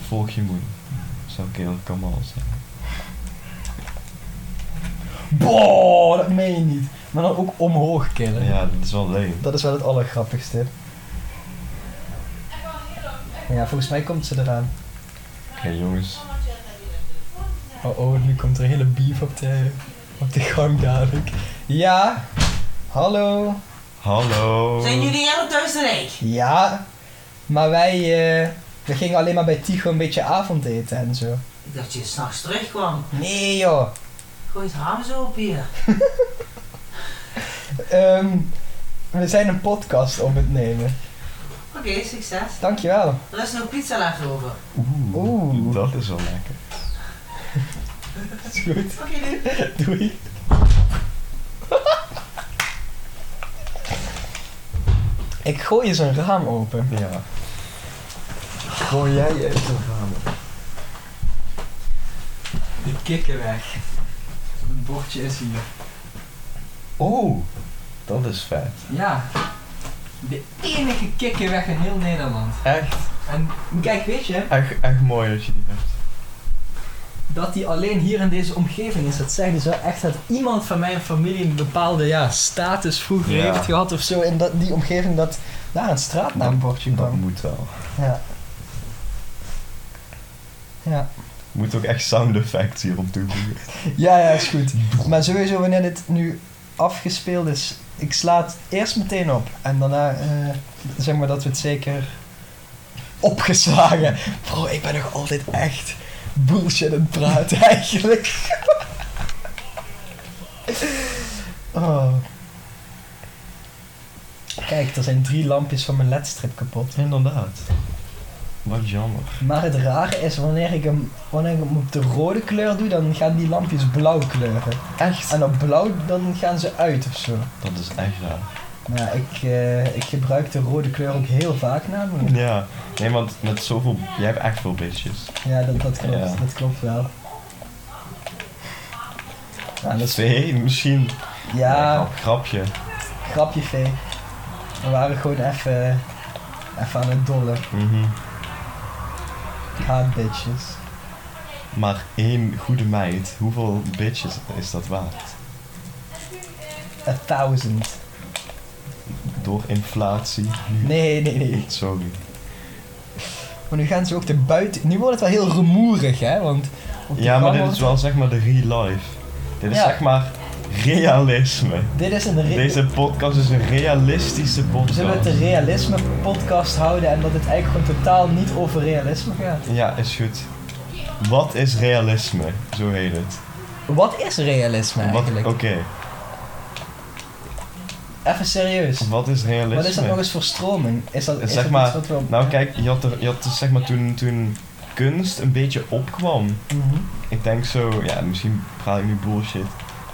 [SPEAKER 2] Volg je moeder. Zou ik heel kamal zeggen.
[SPEAKER 3] Boah, dat meen je niet. Maar dan ook omhoog killen.
[SPEAKER 2] Ja, dat is wel leem.
[SPEAKER 3] Dat is wel het allergrappigste. Ja, volgens mij komt ze eraan.
[SPEAKER 2] Oké, jongens.
[SPEAKER 4] Oh oh, nu komt er een hele beef op de, op de gang dadelijk.
[SPEAKER 3] Ja, hallo.
[SPEAKER 2] Hallo.
[SPEAKER 5] Zijn jullie helemaal thuis rijk?
[SPEAKER 3] Ja, maar wij eh, we gingen alleen maar bij Tigo een beetje avondeten en zo.
[SPEAKER 5] Ik dacht je s'nachts terugkwam.
[SPEAKER 3] Nee joh.
[SPEAKER 5] Gooi het raam zo op hier.
[SPEAKER 3] Ehm, we zijn een podcast om het nemen.
[SPEAKER 5] Oké, succes.
[SPEAKER 3] Dankjewel.
[SPEAKER 5] Er is nog pizza laten over.
[SPEAKER 2] Oeh,
[SPEAKER 3] Oeh.
[SPEAKER 2] Dat is wel lekker.
[SPEAKER 3] Is goed.
[SPEAKER 5] Oké, doei.
[SPEAKER 3] Doei. Ik gooi eens een raam open.
[SPEAKER 2] Ja.
[SPEAKER 4] Gooi jij je uit een raam.
[SPEAKER 1] De kikker weg. Het bordje is hier.
[SPEAKER 2] Oh, dat is vet.
[SPEAKER 1] Ja. De enige kikker weg in heel Nederland.
[SPEAKER 2] Echt,
[SPEAKER 1] En kijk, weet je,
[SPEAKER 2] echt, echt mooi als je die hebt.
[SPEAKER 3] Dat die alleen hier in deze omgeving is, dat zegt dus wel echt dat iemand van mijn familie een bepaalde ja, status vroeger
[SPEAKER 2] Ja.
[SPEAKER 3] heeft gehad of zo. In dat, die omgeving dat daar een straatnaambordje
[SPEAKER 2] Dat
[SPEAKER 3] kwam.
[SPEAKER 2] moet wel.
[SPEAKER 3] Ja. Ja.
[SPEAKER 2] Moet ook echt sound effects hierop toevoegen.
[SPEAKER 3] Ja, ja, is goed. Maar sowieso, wanneer dit nu afgespeeld is, ik sla het eerst meteen op. En daarna eh, zeg maar dat we het zeker opgeslagen. Bro, ik ben nog altijd echt bullshit aan het praten <laughs> eigenlijk. oh. Kijk, er zijn drie lampjes van mijn ledstrip kapot.
[SPEAKER 2] Inderdaad. Wat jammer.
[SPEAKER 3] Maar het rare is, wanneer ik, hem, wanneer ik hem op de rode kleur doe, dan gaan die lampjes blauw kleuren.
[SPEAKER 2] Echt?
[SPEAKER 3] En op blauw dan gaan ze uit of zo.
[SPEAKER 2] Dat is echt raar.
[SPEAKER 3] Maar ja, ik, eh, ik gebruik de rode kleur ook heel vaak namelijk.
[SPEAKER 2] Ja. Nee, want met zoveel... Jij hebt echt veel bitches.
[SPEAKER 3] Ja, dat, dat klopt.
[SPEAKER 2] Ja.
[SPEAKER 3] Dat klopt wel. Ja, dat is,
[SPEAKER 2] Twee, misschien. Nee,
[SPEAKER 3] ja
[SPEAKER 2] grap- grapje.
[SPEAKER 3] grapje vee. We waren gewoon even, even aan het dollen.
[SPEAKER 2] Mhm.
[SPEAKER 3] Ik haat bitches.
[SPEAKER 2] Maar één goede meid, hoeveel bitches is dat waard?
[SPEAKER 3] A thousand.
[SPEAKER 2] Door inflatie?
[SPEAKER 3] Nee, nee, nee.
[SPEAKER 2] Sorry.
[SPEAKER 3] Maar nu gaan ze ook de buiten... Nu wordt het wel heel rumoerig, hè? Want op de
[SPEAKER 2] Ja, maar
[SPEAKER 3] gang
[SPEAKER 2] dit
[SPEAKER 3] wordt-
[SPEAKER 2] is wel zeg maar de real life. Dit is
[SPEAKER 3] Ja.
[SPEAKER 2] zeg maar realisme.
[SPEAKER 3] Dit is een... re-
[SPEAKER 2] Deze podcast is een realistische
[SPEAKER 3] Zullen we het
[SPEAKER 2] podcast.
[SPEAKER 3] een realisme podcast houden en dat het eigenlijk gewoon totaal niet over realisme gaat?
[SPEAKER 2] Ja, is goed. Wat is realisme? Zo heet het.
[SPEAKER 3] Wat is realisme
[SPEAKER 2] Wat- Oh.
[SPEAKER 3] eigenlijk?
[SPEAKER 2] Oké,
[SPEAKER 3] Even serieus.
[SPEAKER 2] wat is realisme?
[SPEAKER 3] Wat is dat nog eens voor stroming? Is dat, is
[SPEAKER 2] Zeg
[SPEAKER 3] dat
[SPEAKER 2] maar-
[SPEAKER 3] iets wat we op...
[SPEAKER 2] Nou kijk, je had, er, je had dus, zeg maar toen, toen kunst een beetje opkwam.
[SPEAKER 3] Mhm.
[SPEAKER 2] Ik denk zo, ja misschien praat ik nu bullshit.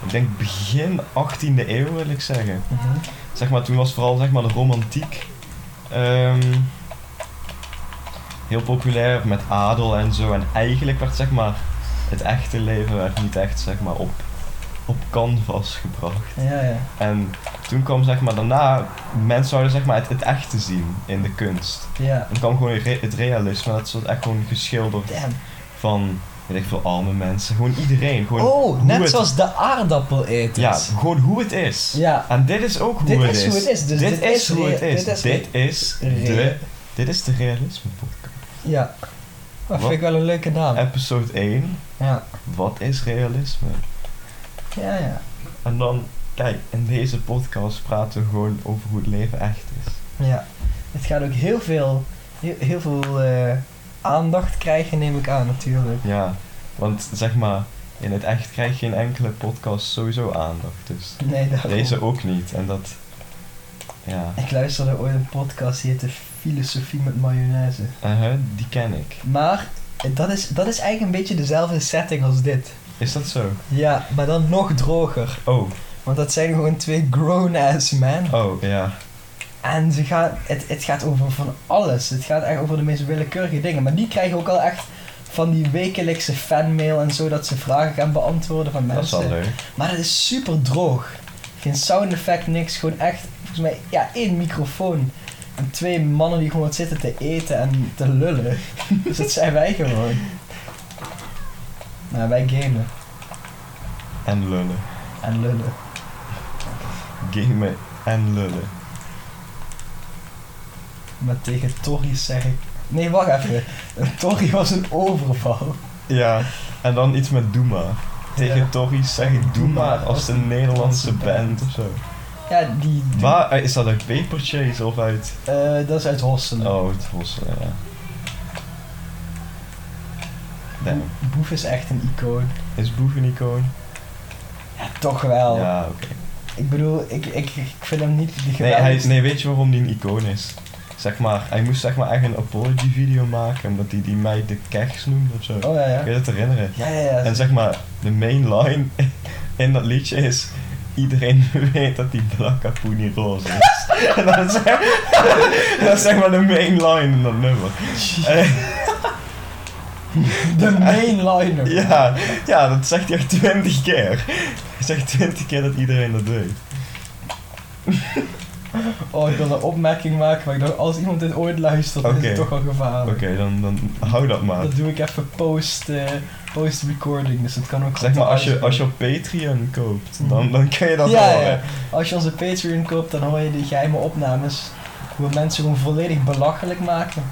[SPEAKER 2] Ik denk begin 18e eeuw wil ik zeggen.
[SPEAKER 3] Mhm.
[SPEAKER 2] Zeg maar toen was vooral zeg maar de romantiek ehm, heel populair met adel en zo. En eigenlijk werd zeg maar het echte leven werd niet echt zeg maar op, op canvas gebracht.
[SPEAKER 3] Ja, ja.
[SPEAKER 2] En toen kwam zeg maar daarna, mensen zouden zeg maar het, het echte zien in de kunst.
[SPEAKER 3] Ja.
[SPEAKER 2] Dan kwam gewoon re- het realisme, dat is echt gewoon geschilderd
[SPEAKER 3] Damn.
[SPEAKER 2] van, weet ik veel, arme mensen. Gewoon iedereen. Gewoon,
[SPEAKER 3] Oh, net
[SPEAKER 2] het-
[SPEAKER 3] zoals de aardappeleters.
[SPEAKER 2] ja, gewoon hoe het is.
[SPEAKER 3] Ja.
[SPEAKER 2] En dit is ook hoe
[SPEAKER 3] Dit
[SPEAKER 2] het
[SPEAKER 3] is
[SPEAKER 2] is.
[SPEAKER 3] hoe het is, dus
[SPEAKER 2] dit,
[SPEAKER 3] dit
[SPEAKER 2] is
[SPEAKER 3] is
[SPEAKER 2] hoe het
[SPEAKER 3] rea-
[SPEAKER 2] is.
[SPEAKER 3] dit is
[SPEAKER 2] Dit is de,
[SPEAKER 3] rea-
[SPEAKER 2] dit is de realisme podcast.
[SPEAKER 3] Ja. Dat
[SPEAKER 2] Wat?
[SPEAKER 3] vind ik wel een leuke naam.
[SPEAKER 2] Episode 1,
[SPEAKER 3] Ja.
[SPEAKER 2] wat is realisme?
[SPEAKER 3] Ja, ja.
[SPEAKER 2] En dan, kijk, in deze podcast praten we gewoon over hoe het leven echt is.
[SPEAKER 3] Ja. Het gaat ook heel veel, heel, heel veel eh, aandacht krijgen, neem ik aan natuurlijk.
[SPEAKER 2] Ja, want zeg maar, in het echt krijg je in enkele podcast sowieso aandacht. Dus
[SPEAKER 3] Nee, daarom.
[SPEAKER 2] deze ook niet. En dat, ja,
[SPEAKER 3] Ik luisterde ooit een podcast die heette Filosofie met mayonaise.
[SPEAKER 2] Eh, die ken ik.
[SPEAKER 3] Maar dat is, dat is eigenlijk een beetje dezelfde setting als dit.
[SPEAKER 2] Is dat zo?
[SPEAKER 3] Ja, maar dan nog droger.
[SPEAKER 2] Oh,
[SPEAKER 3] Want dat zijn gewoon twee grown-ass men.
[SPEAKER 2] oh, ja.
[SPEAKER 3] En ze gaan, het, het gaat over van alles. Het gaat echt over de meest willekeurige dingen. Maar die krijgen ook al echt van die wekelijkse fanmail en zo dat ze vragen gaan beantwoorden van
[SPEAKER 2] Dat is
[SPEAKER 3] mensen.
[SPEAKER 2] wel leuk.
[SPEAKER 3] maar dat is super droog. Geen sound effect, niks. Gewoon echt, volgens mij, ja, één microfoon. En twee mannen die gewoon wat zitten te eten en te lullen. <laughs> dus dat zijn wij gewoon. Nou, wij gamen
[SPEAKER 2] En lullen.
[SPEAKER 3] en lullen.
[SPEAKER 2] Gamen en lullen.
[SPEAKER 3] Maar tegen Torrie zeg ik... Nee, wacht even. <laughs> Een Torrie was een overval.
[SPEAKER 2] Ja, en dan iets met Doe maar. Tegen
[SPEAKER 3] Ja.
[SPEAKER 2] Tories zeg ik Doe maar als een Nederlandse band of zo.
[SPEAKER 3] Ja, die... die-
[SPEAKER 2] Waar, eh, is dat uit Paper Chase of uit...
[SPEAKER 3] eh, dat is uit Hosselen.
[SPEAKER 2] Oh, het was, ja. Damn.
[SPEAKER 3] Bo- Boef is echt een icoon.
[SPEAKER 2] Is Boef een icoon?
[SPEAKER 3] Ja, toch wel.
[SPEAKER 2] Ja, oké.
[SPEAKER 3] Ik bedoel, ik, ik, ik vind hem niet die
[SPEAKER 2] Nee, hij,
[SPEAKER 3] geweldigste.
[SPEAKER 2] nee, weet je waarom die een icoon is? Zeg maar, hij moest zeg maar echt een apology video maken, omdat hij die meid de keks noemde of zo.
[SPEAKER 3] Oh, ja,
[SPEAKER 2] Ik
[SPEAKER 3] ja.
[SPEAKER 2] weet het herinneren.
[SPEAKER 3] Ja, ja, ja.
[SPEAKER 2] <laughs> En zeg maar, de main line in dat liedje is... iedereen <laughs> weet dat die Blakkapoenie roze is. <laughs> en dat is, <laughs> dat is zeg maar de mainline in dat nummer. Eh,
[SPEAKER 3] De mainliner.
[SPEAKER 2] ja, ja, dat zegt hij echt twintig keer. Hij zegt twintig keer dat iedereen dat weet.
[SPEAKER 3] Oh, ik wil een opmerking maken, maar ik dacht, als iemand dit ooit luistert, is
[SPEAKER 2] Oké.
[SPEAKER 3] het toch al
[SPEAKER 2] Oké,
[SPEAKER 3] gevaarlijk.
[SPEAKER 2] dan, dan hou dat maar.
[SPEAKER 3] Dat doe ik even post, eh, post-recording, dus dat kan ook
[SPEAKER 2] Zeg maar,
[SPEAKER 3] gewoon
[SPEAKER 2] als je, als je
[SPEAKER 3] thuis
[SPEAKER 2] op Patreon koopt, dan, dan kun je dat
[SPEAKER 3] Ja,
[SPEAKER 2] horen.
[SPEAKER 3] ja. Als je onze Patreon koopt, dan hoor je die geheime opnames. Hoe we mensen gewoon volledig belachelijk maken.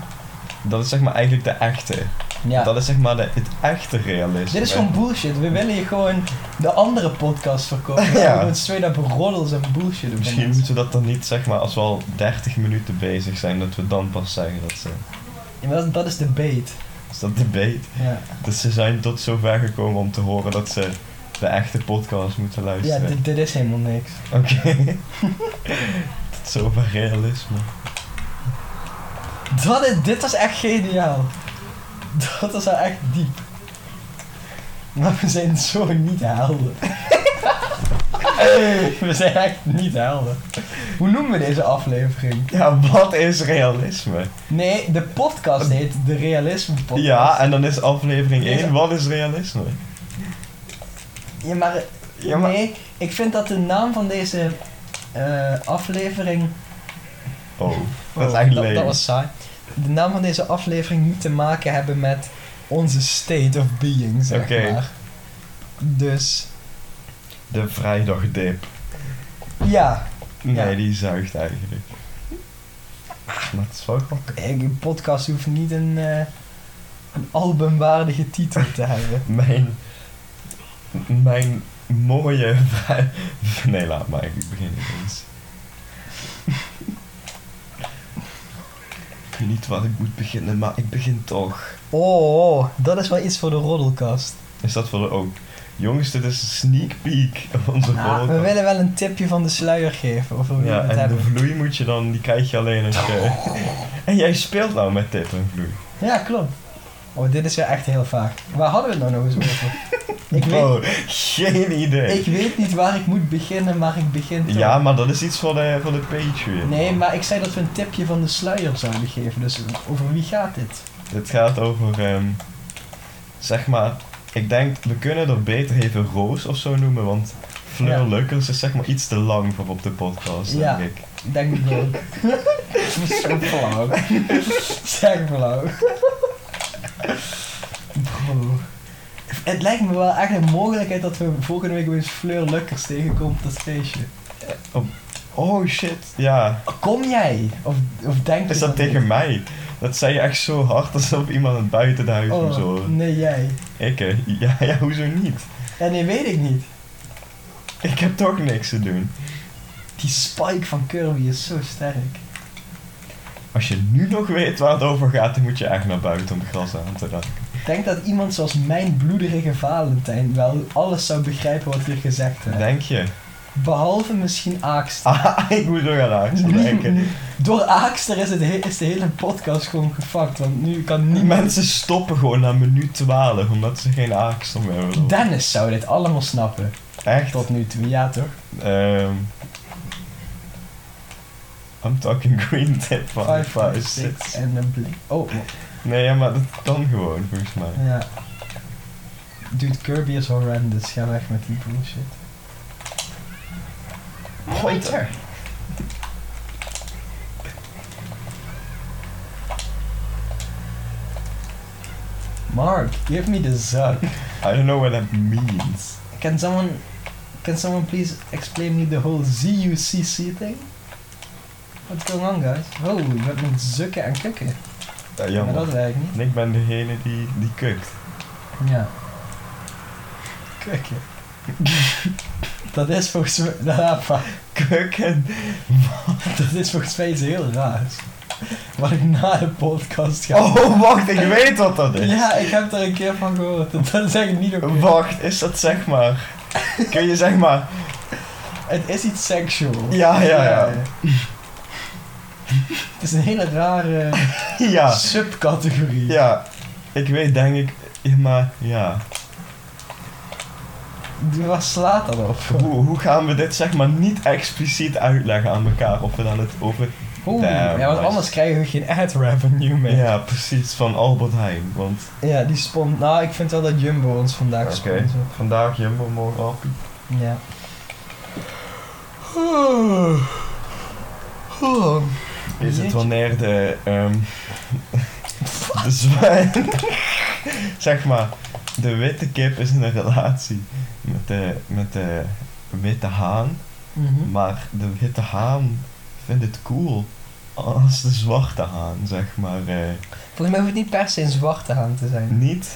[SPEAKER 2] Dat is zeg maar eigenlijk de echte.
[SPEAKER 3] Ja.
[SPEAKER 2] Dat is zeg maar de, het echte realisme.
[SPEAKER 3] Dit is gewoon bullshit. We willen je gewoon de andere podcast verkopen.
[SPEAKER 2] Ja.
[SPEAKER 3] We willen Gewoon straight up roddels en bullshit. op
[SPEAKER 2] Misschien
[SPEAKER 3] mensen.
[SPEAKER 2] moeten we dat dan niet, zeg maar, als we al 30 minuten bezig zijn, dat we dan pas zeggen dat ze...
[SPEAKER 3] Ja, maar dat, dat is de bait.
[SPEAKER 2] Is dat de beet?
[SPEAKER 3] Ja,
[SPEAKER 2] Dus ze zijn tot zover gekomen om te horen dat ze de echte podcast moeten
[SPEAKER 3] ja
[SPEAKER 2] luisteren.
[SPEAKER 3] dit, dit is helemaal niks.
[SPEAKER 2] Oké. <laughs> tot zover realisme.
[SPEAKER 3] Dat is, dit was echt geniaal. Dat was wel echt diep. Maar we zijn zo niet helden. <laughs> we zijn echt niet helden. Hoe noemen we deze aflevering?
[SPEAKER 2] Ja, wat is realisme?
[SPEAKER 3] Nee, de podcast heet De Realisme Podcast.
[SPEAKER 2] Ja, en dan is aflevering
[SPEAKER 3] Deze-
[SPEAKER 2] 1, wat is realisme?
[SPEAKER 3] Ja, maar,
[SPEAKER 2] Ja, maar-
[SPEAKER 3] Nee, ik vind dat de naam van deze eh, aflevering...
[SPEAKER 2] Oh, dat is
[SPEAKER 3] Oh,
[SPEAKER 2] echt
[SPEAKER 3] dat,
[SPEAKER 2] leuk.
[SPEAKER 3] dat was saai. De naam van deze aflevering niet te maken hebben met onze state of being, zeg
[SPEAKER 2] Oké.
[SPEAKER 3] maar. Dus,
[SPEAKER 2] De vrijdagdip.
[SPEAKER 3] ja.
[SPEAKER 2] Nee,
[SPEAKER 3] Ja.
[SPEAKER 2] die zuigt eigenlijk. Ah, Maar het is wel grappig.
[SPEAKER 3] Ik- Een podcast hoeft niet een, eh, een albumwaardige titel te hebben.
[SPEAKER 2] Mijn... Mijn mooie... <laughs> vrij- Nee, laat maar. Ik begin niet eens. Ik weet niet waar ik moet beginnen, maar ik begin toch.
[SPEAKER 3] Oh, dat is wel iets voor de roddelkast.
[SPEAKER 2] Is dat voor de ook? Jongens, dit is een sneak peek van onze
[SPEAKER 5] Ja,
[SPEAKER 2] podcast.
[SPEAKER 3] Nou, We willen wel een tipje van de sluier geven, of we willen
[SPEAKER 2] Ja,
[SPEAKER 3] het
[SPEAKER 2] en de
[SPEAKER 3] hebben. Oh.
[SPEAKER 2] vloei moet je dan, die krijg je alleen als je... En jij speelt nou met dit en vloei.
[SPEAKER 3] Ja, klopt. Oh, dit is weer echt heel vaag. Waar hadden we het nou nog eens over? ik, weet,
[SPEAKER 2] Oh, geen idee.
[SPEAKER 3] ik weet niet waar ik moet beginnen, maar ik begin toch.
[SPEAKER 2] Ja, maar dat is iets voor de, voor de Patreon.
[SPEAKER 3] Nee, maar ik zei dat we een tipje van de sluier zouden geven, dus over wie gaat dit?
[SPEAKER 2] Dit gaat over, ehm, zeg maar, ik denk, we kunnen er beter even Roos of zo noemen, want Fleur
[SPEAKER 3] Ja.
[SPEAKER 2] Lukkers is zeg maar iets te lang voor op de podcast,
[SPEAKER 3] Ja.
[SPEAKER 2] denk ik.
[SPEAKER 3] Ik Denk ik <laughs> ook. Zo flauw. <laughs> Zeg flauw. Bro. Het lijkt me wel echt een mogelijkheid dat we volgende week weer eens Fleur Lukkers tegenkomen op dat feestje.
[SPEAKER 2] Oh shit, ja.
[SPEAKER 3] Kom jij? Of, of denk je
[SPEAKER 2] Is dat tegen
[SPEAKER 3] niet?
[SPEAKER 2] mij? Dat zei je echt zo hard alsof iemand het buiten de huis moest
[SPEAKER 3] Oh,
[SPEAKER 2] horen.
[SPEAKER 3] nee jij.
[SPEAKER 2] Ik, hè? Ja, <laughs> ja, hoezo niet?
[SPEAKER 3] Ja, nee, weet ik niet.
[SPEAKER 2] Ik heb toch niks te doen.
[SPEAKER 3] Die spike van Kirby is zo sterk.
[SPEAKER 2] Als je nu nog weet waar het over gaat, dan moet je echt naar buiten om de gras aan te raken.
[SPEAKER 3] Ik denk dat iemand zoals mijn bloederige Valentijn wel alles zou begrijpen wat hier gezegd werd.
[SPEAKER 2] Denk je? <laughs>
[SPEAKER 3] Behalve misschien Aakster.
[SPEAKER 2] Ah, ik moet nog aan <laughs> Aakster denken.
[SPEAKER 3] Door Aakster is, het he- is de hele podcast gewoon gefakt, want nu kan
[SPEAKER 2] Die
[SPEAKER 3] niemand...
[SPEAKER 2] mensen stoppen gewoon na minuut 12 omdat ze geen aakster meer willen.
[SPEAKER 3] Dennis zou dit allemaal snappen,
[SPEAKER 2] Echt?
[SPEAKER 3] tot nu toe. Ja, toch?
[SPEAKER 2] Ehm I'm talking green tip van 5, 6.
[SPEAKER 3] en een blik. Oh,
[SPEAKER 2] Nee, ja, maar dat kan gewoon volgens mij.
[SPEAKER 3] ja. Dude, Kirby is horrendous. Ga weg met die bullshit.
[SPEAKER 2] Pointer!
[SPEAKER 3] Mark, give me the zuck.
[SPEAKER 2] I don't know what that means.
[SPEAKER 3] Can someone... Can someone please explain me the whole ZUCC thing? What's going on, guys? Oh, je bent met zukken en kukken.
[SPEAKER 2] Ja,
[SPEAKER 3] Maar dat
[SPEAKER 2] jammer.
[SPEAKER 3] werkt niet.
[SPEAKER 2] En ik ben degene die, die kukt.
[SPEAKER 3] Ja. Kukken. <laughs> dat is volgens mij... <laughs> Ja, pa-
[SPEAKER 2] Kukken?
[SPEAKER 3] <laughs> dat is volgens mij iets heel raars. Wat ik na de podcast ga...
[SPEAKER 2] Oh, wacht, ik weet wat dat is.
[SPEAKER 3] ja, ik heb er een keer van gehoord. Dat is echt niet oké.
[SPEAKER 2] Wacht, is dat zeg maar... Kun je zeg maar...
[SPEAKER 3] Het is iets seksual.
[SPEAKER 2] Ja, ja, ja.
[SPEAKER 3] Het is een hele rare
[SPEAKER 2] Ja.
[SPEAKER 3] subcategorie.
[SPEAKER 2] Ja, ik weet denk ik, ja, maar ja.
[SPEAKER 3] Die was slaat dan op.
[SPEAKER 2] Hoe, hoe gaan we dit zeg maar niet expliciet uitleggen aan elkaar of we dan het over...
[SPEAKER 3] Oeh,
[SPEAKER 2] Damn,
[SPEAKER 3] ja, want
[SPEAKER 2] nice.
[SPEAKER 3] anders krijgen we geen ad revenue meer.
[SPEAKER 2] Ja, precies, van Albert Heijn. Want
[SPEAKER 3] Ja, die spon. Nou, ik vind wel dat Jumbo ons vandaag
[SPEAKER 2] Oké.
[SPEAKER 3] sponsort.
[SPEAKER 2] vandaag Jumbo, morgen Alpi.
[SPEAKER 3] Ja.
[SPEAKER 2] Is het
[SPEAKER 3] Jeetje.
[SPEAKER 2] wanneer de... ehm <laughs> de zwijn... <laughs> zeg maar, de witte kip is in een relatie met de, met de witte haan.
[SPEAKER 3] Mhm.
[SPEAKER 2] Maar de witte haan vindt het cool als de zwarte haan, zeg maar, eh,
[SPEAKER 3] Volgens mij hoeft het niet per se een zwarte haan te zijn.
[SPEAKER 2] niet.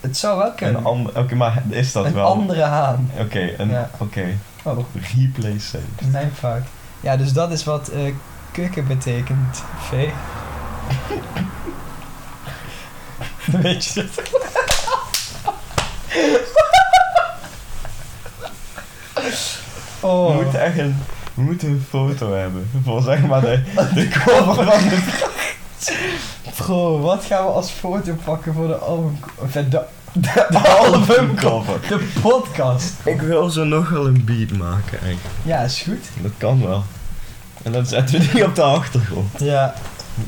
[SPEAKER 3] Het zou wel kunnen.
[SPEAKER 2] Een ander... Oké, maar is dat
[SPEAKER 3] Een
[SPEAKER 2] wel...
[SPEAKER 3] andere haan.
[SPEAKER 2] Oké, een...
[SPEAKER 3] Ja.
[SPEAKER 2] Oké,
[SPEAKER 3] Oh,
[SPEAKER 2] replay safe. <laughs>
[SPEAKER 3] mijn fout. Ja, dus dat is wat eh kukken betekent, vee. Weet je dat?
[SPEAKER 2] We
[SPEAKER 3] Oh.
[SPEAKER 2] moeten echt een... We moeten een foto hebben voor zeg maar de, de cover van de
[SPEAKER 3] Bro, wat gaan we als foto pakken voor de album... Of eh, de,
[SPEAKER 2] <laughs>
[SPEAKER 3] <laughs>
[SPEAKER 2] De albumcover.
[SPEAKER 3] de podcast?
[SPEAKER 2] Ik wil zo nog wel een beat maken eigenlijk.
[SPEAKER 3] Ja, is goed.
[SPEAKER 2] Dat kan wel. En dan zetten we die op de achtergrond.
[SPEAKER 3] Ja.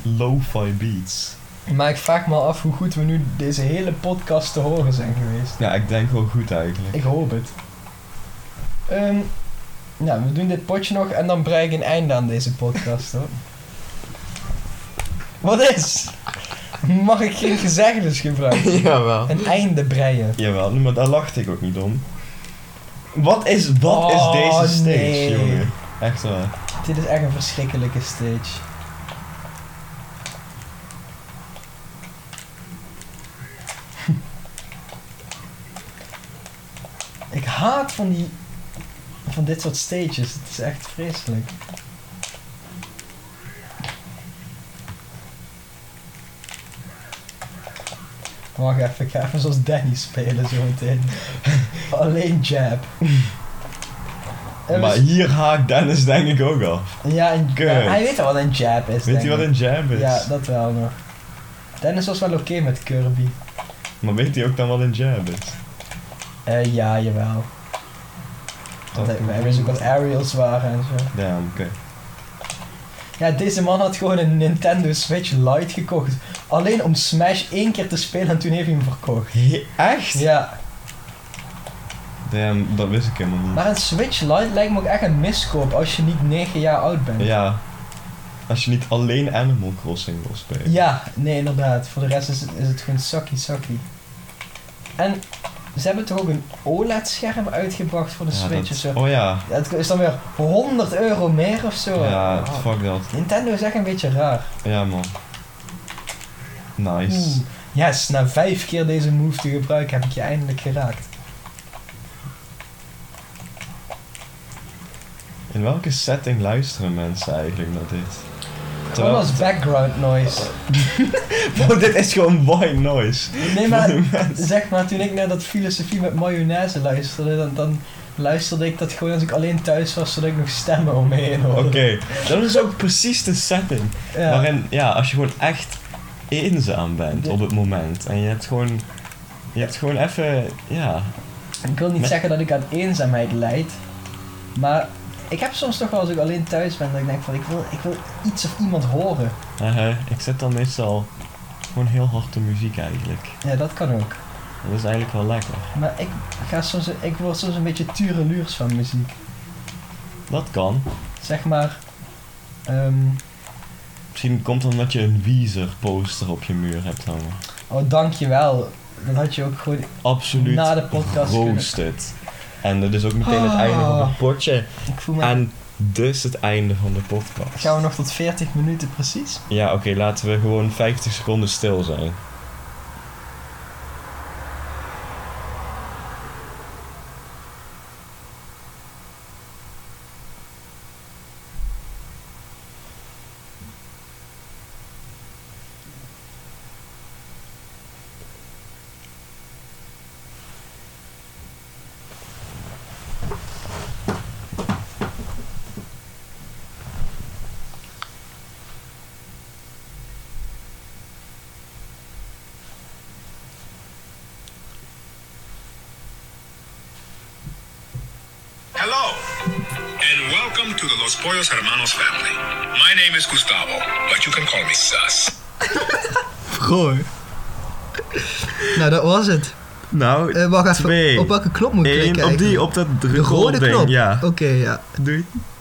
[SPEAKER 2] Lo-fi beats.
[SPEAKER 3] Maar ik vraag me af hoe goed we nu deze hele podcast te horen zijn geweest.
[SPEAKER 2] Ja, ik denk wel goed eigenlijk.
[SPEAKER 3] Ik hoop het. Ehm, nou, we doen dit potje nog en dan breng ik een einde aan deze podcast hoor. Wat is? Mag ik geen gezegdes gebruiken?
[SPEAKER 2] <laughs> Jawel.
[SPEAKER 3] Een einde breien.
[SPEAKER 2] Jawel, maar daar lachte ik ook niet om. Wat is, wat
[SPEAKER 3] Oh,
[SPEAKER 2] is deze stage,
[SPEAKER 3] nee.
[SPEAKER 2] jongen? Echt waar.
[SPEAKER 3] Dit is echt een verschrikkelijke stage. <laughs> Ik haat van die... van dit soort stages. Het is echt vreselijk. Wacht even, ik ga even zoals Danny spelen zo meteen. <laughs> Alleen jab. En we
[SPEAKER 2] Maar hier haakt Dennis denk ik ook af.
[SPEAKER 3] ja, en,
[SPEAKER 2] Kut.
[SPEAKER 3] ja, hij weet al wat een jab is.
[SPEAKER 2] Weet hij wat
[SPEAKER 3] denk
[SPEAKER 2] een
[SPEAKER 3] ik.
[SPEAKER 2] jab is?
[SPEAKER 3] Ja, dat wel nog. Dennis was wel oké met Kirby.
[SPEAKER 2] Maar weet hij ook dan wat een jab is?
[SPEAKER 3] Eh, ja, jawel. Want hij, hij wist ook wat aerials waren en zo.
[SPEAKER 2] Damn, oké.
[SPEAKER 3] Ja, deze man had gewoon een Nintendo Switch Lite gekocht. Alleen om Smash één keer te spelen en toen heeft hij hem verkocht.
[SPEAKER 2] He- Echt?
[SPEAKER 3] Ja,
[SPEAKER 2] Damn, dat wist ik helemaal niet.
[SPEAKER 3] maar een Switch Lite lijkt me ook echt een miskoop als je niet 9 jaar oud bent.
[SPEAKER 2] Ja. Als je niet alleen Animal Crossing wil spelen.
[SPEAKER 3] Ja, nee, inderdaad. Voor de rest is het, is het gewoon sakkie sakkie. En ze hebben toch ook een OLED-scherm uitgebracht voor de
[SPEAKER 2] Ja,
[SPEAKER 3] Switch of
[SPEAKER 2] dat-
[SPEAKER 3] zo.
[SPEAKER 2] Oh ja.
[SPEAKER 3] Ja, Het is dan weer 100 euro meer of zo.
[SPEAKER 2] Ja,
[SPEAKER 3] Ah.
[SPEAKER 2] fuck dat.
[SPEAKER 3] Nintendo is echt een beetje raar.
[SPEAKER 2] Ja man. Nice.
[SPEAKER 3] Oeh. Yes, na vijf keer deze move te gebruiken heb ik je eindelijk geraakt.
[SPEAKER 2] In welke setting luisteren mensen eigenlijk naar dit? <laughs>
[SPEAKER 3] Wat
[SPEAKER 2] Terwijl-
[SPEAKER 3] was background noise?
[SPEAKER 2] Wow, dit is gewoon white noise. <laughs>
[SPEAKER 3] Nee, maar zeg maar, toen ik naar dat filosofie met mayonaise luisterde, dan, dan luisterde ik dat gewoon als ik alleen thuis was, zodat ik nog stemmen om me heen
[SPEAKER 2] Oké,
[SPEAKER 3] hoorde. <laughs>
[SPEAKER 2] dat is ook precies de setting.
[SPEAKER 3] Ja.
[SPEAKER 2] Waarin, ja, als je gewoon echt eenzaam bent op het moment. En je hebt gewoon... Je hebt gewoon even... Ja.
[SPEAKER 3] Ik wil niet
[SPEAKER 2] Met-
[SPEAKER 3] zeggen dat ik aan eenzaamheid lijd, maar ik heb soms toch wel als ik alleen thuis ben dat ik denk van ik wil, ik wil iets of iemand horen.
[SPEAKER 2] eh, ik zet dan meestal gewoon heel hard de muziek eigenlijk.
[SPEAKER 3] Ja, dat kan ook.
[SPEAKER 2] Dat is eigenlijk wel lekker.
[SPEAKER 3] Maar ik, ga soms, ik word soms een beetje tureluurs van muziek.
[SPEAKER 2] Dat kan.
[SPEAKER 3] Zeg maar, ehm,
[SPEAKER 2] Misschien komt het omdat je een Weezer poster op je muur hebt hangen.
[SPEAKER 3] oh dankjewel. Dan had je ook gewoon,
[SPEAKER 2] absoluut
[SPEAKER 3] Na de podcast
[SPEAKER 2] roasted. En dat is ook meteen het
[SPEAKER 3] Ah.
[SPEAKER 2] einde van het potje.
[SPEAKER 3] ik voel me...
[SPEAKER 2] En dus het einde van de podcast.
[SPEAKER 3] Gaan we nog tot 40 minuten precies?
[SPEAKER 2] Ja, oké, laten we gewoon 50 seconden stil zijn.
[SPEAKER 6] Hello, and welcome to the Los Pollos Hermanos family. My name is Gustavo, but you can call me Sus.
[SPEAKER 3] Goh. Nou, dat was het.
[SPEAKER 2] Nou,
[SPEAKER 3] Eh wacht even.
[SPEAKER 2] twee.
[SPEAKER 3] Op welke knop moet ik
[SPEAKER 2] Eén,
[SPEAKER 3] klikken?
[SPEAKER 2] op die,
[SPEAKER 3] eigenlijk?
[SPEAKER 2] op dat
[SPEAKER 3] De rode knop?
[SPEAKER 2] Ja.
[SPEAKER 3] Oké, ja.
[SPEAKER 2] Doei.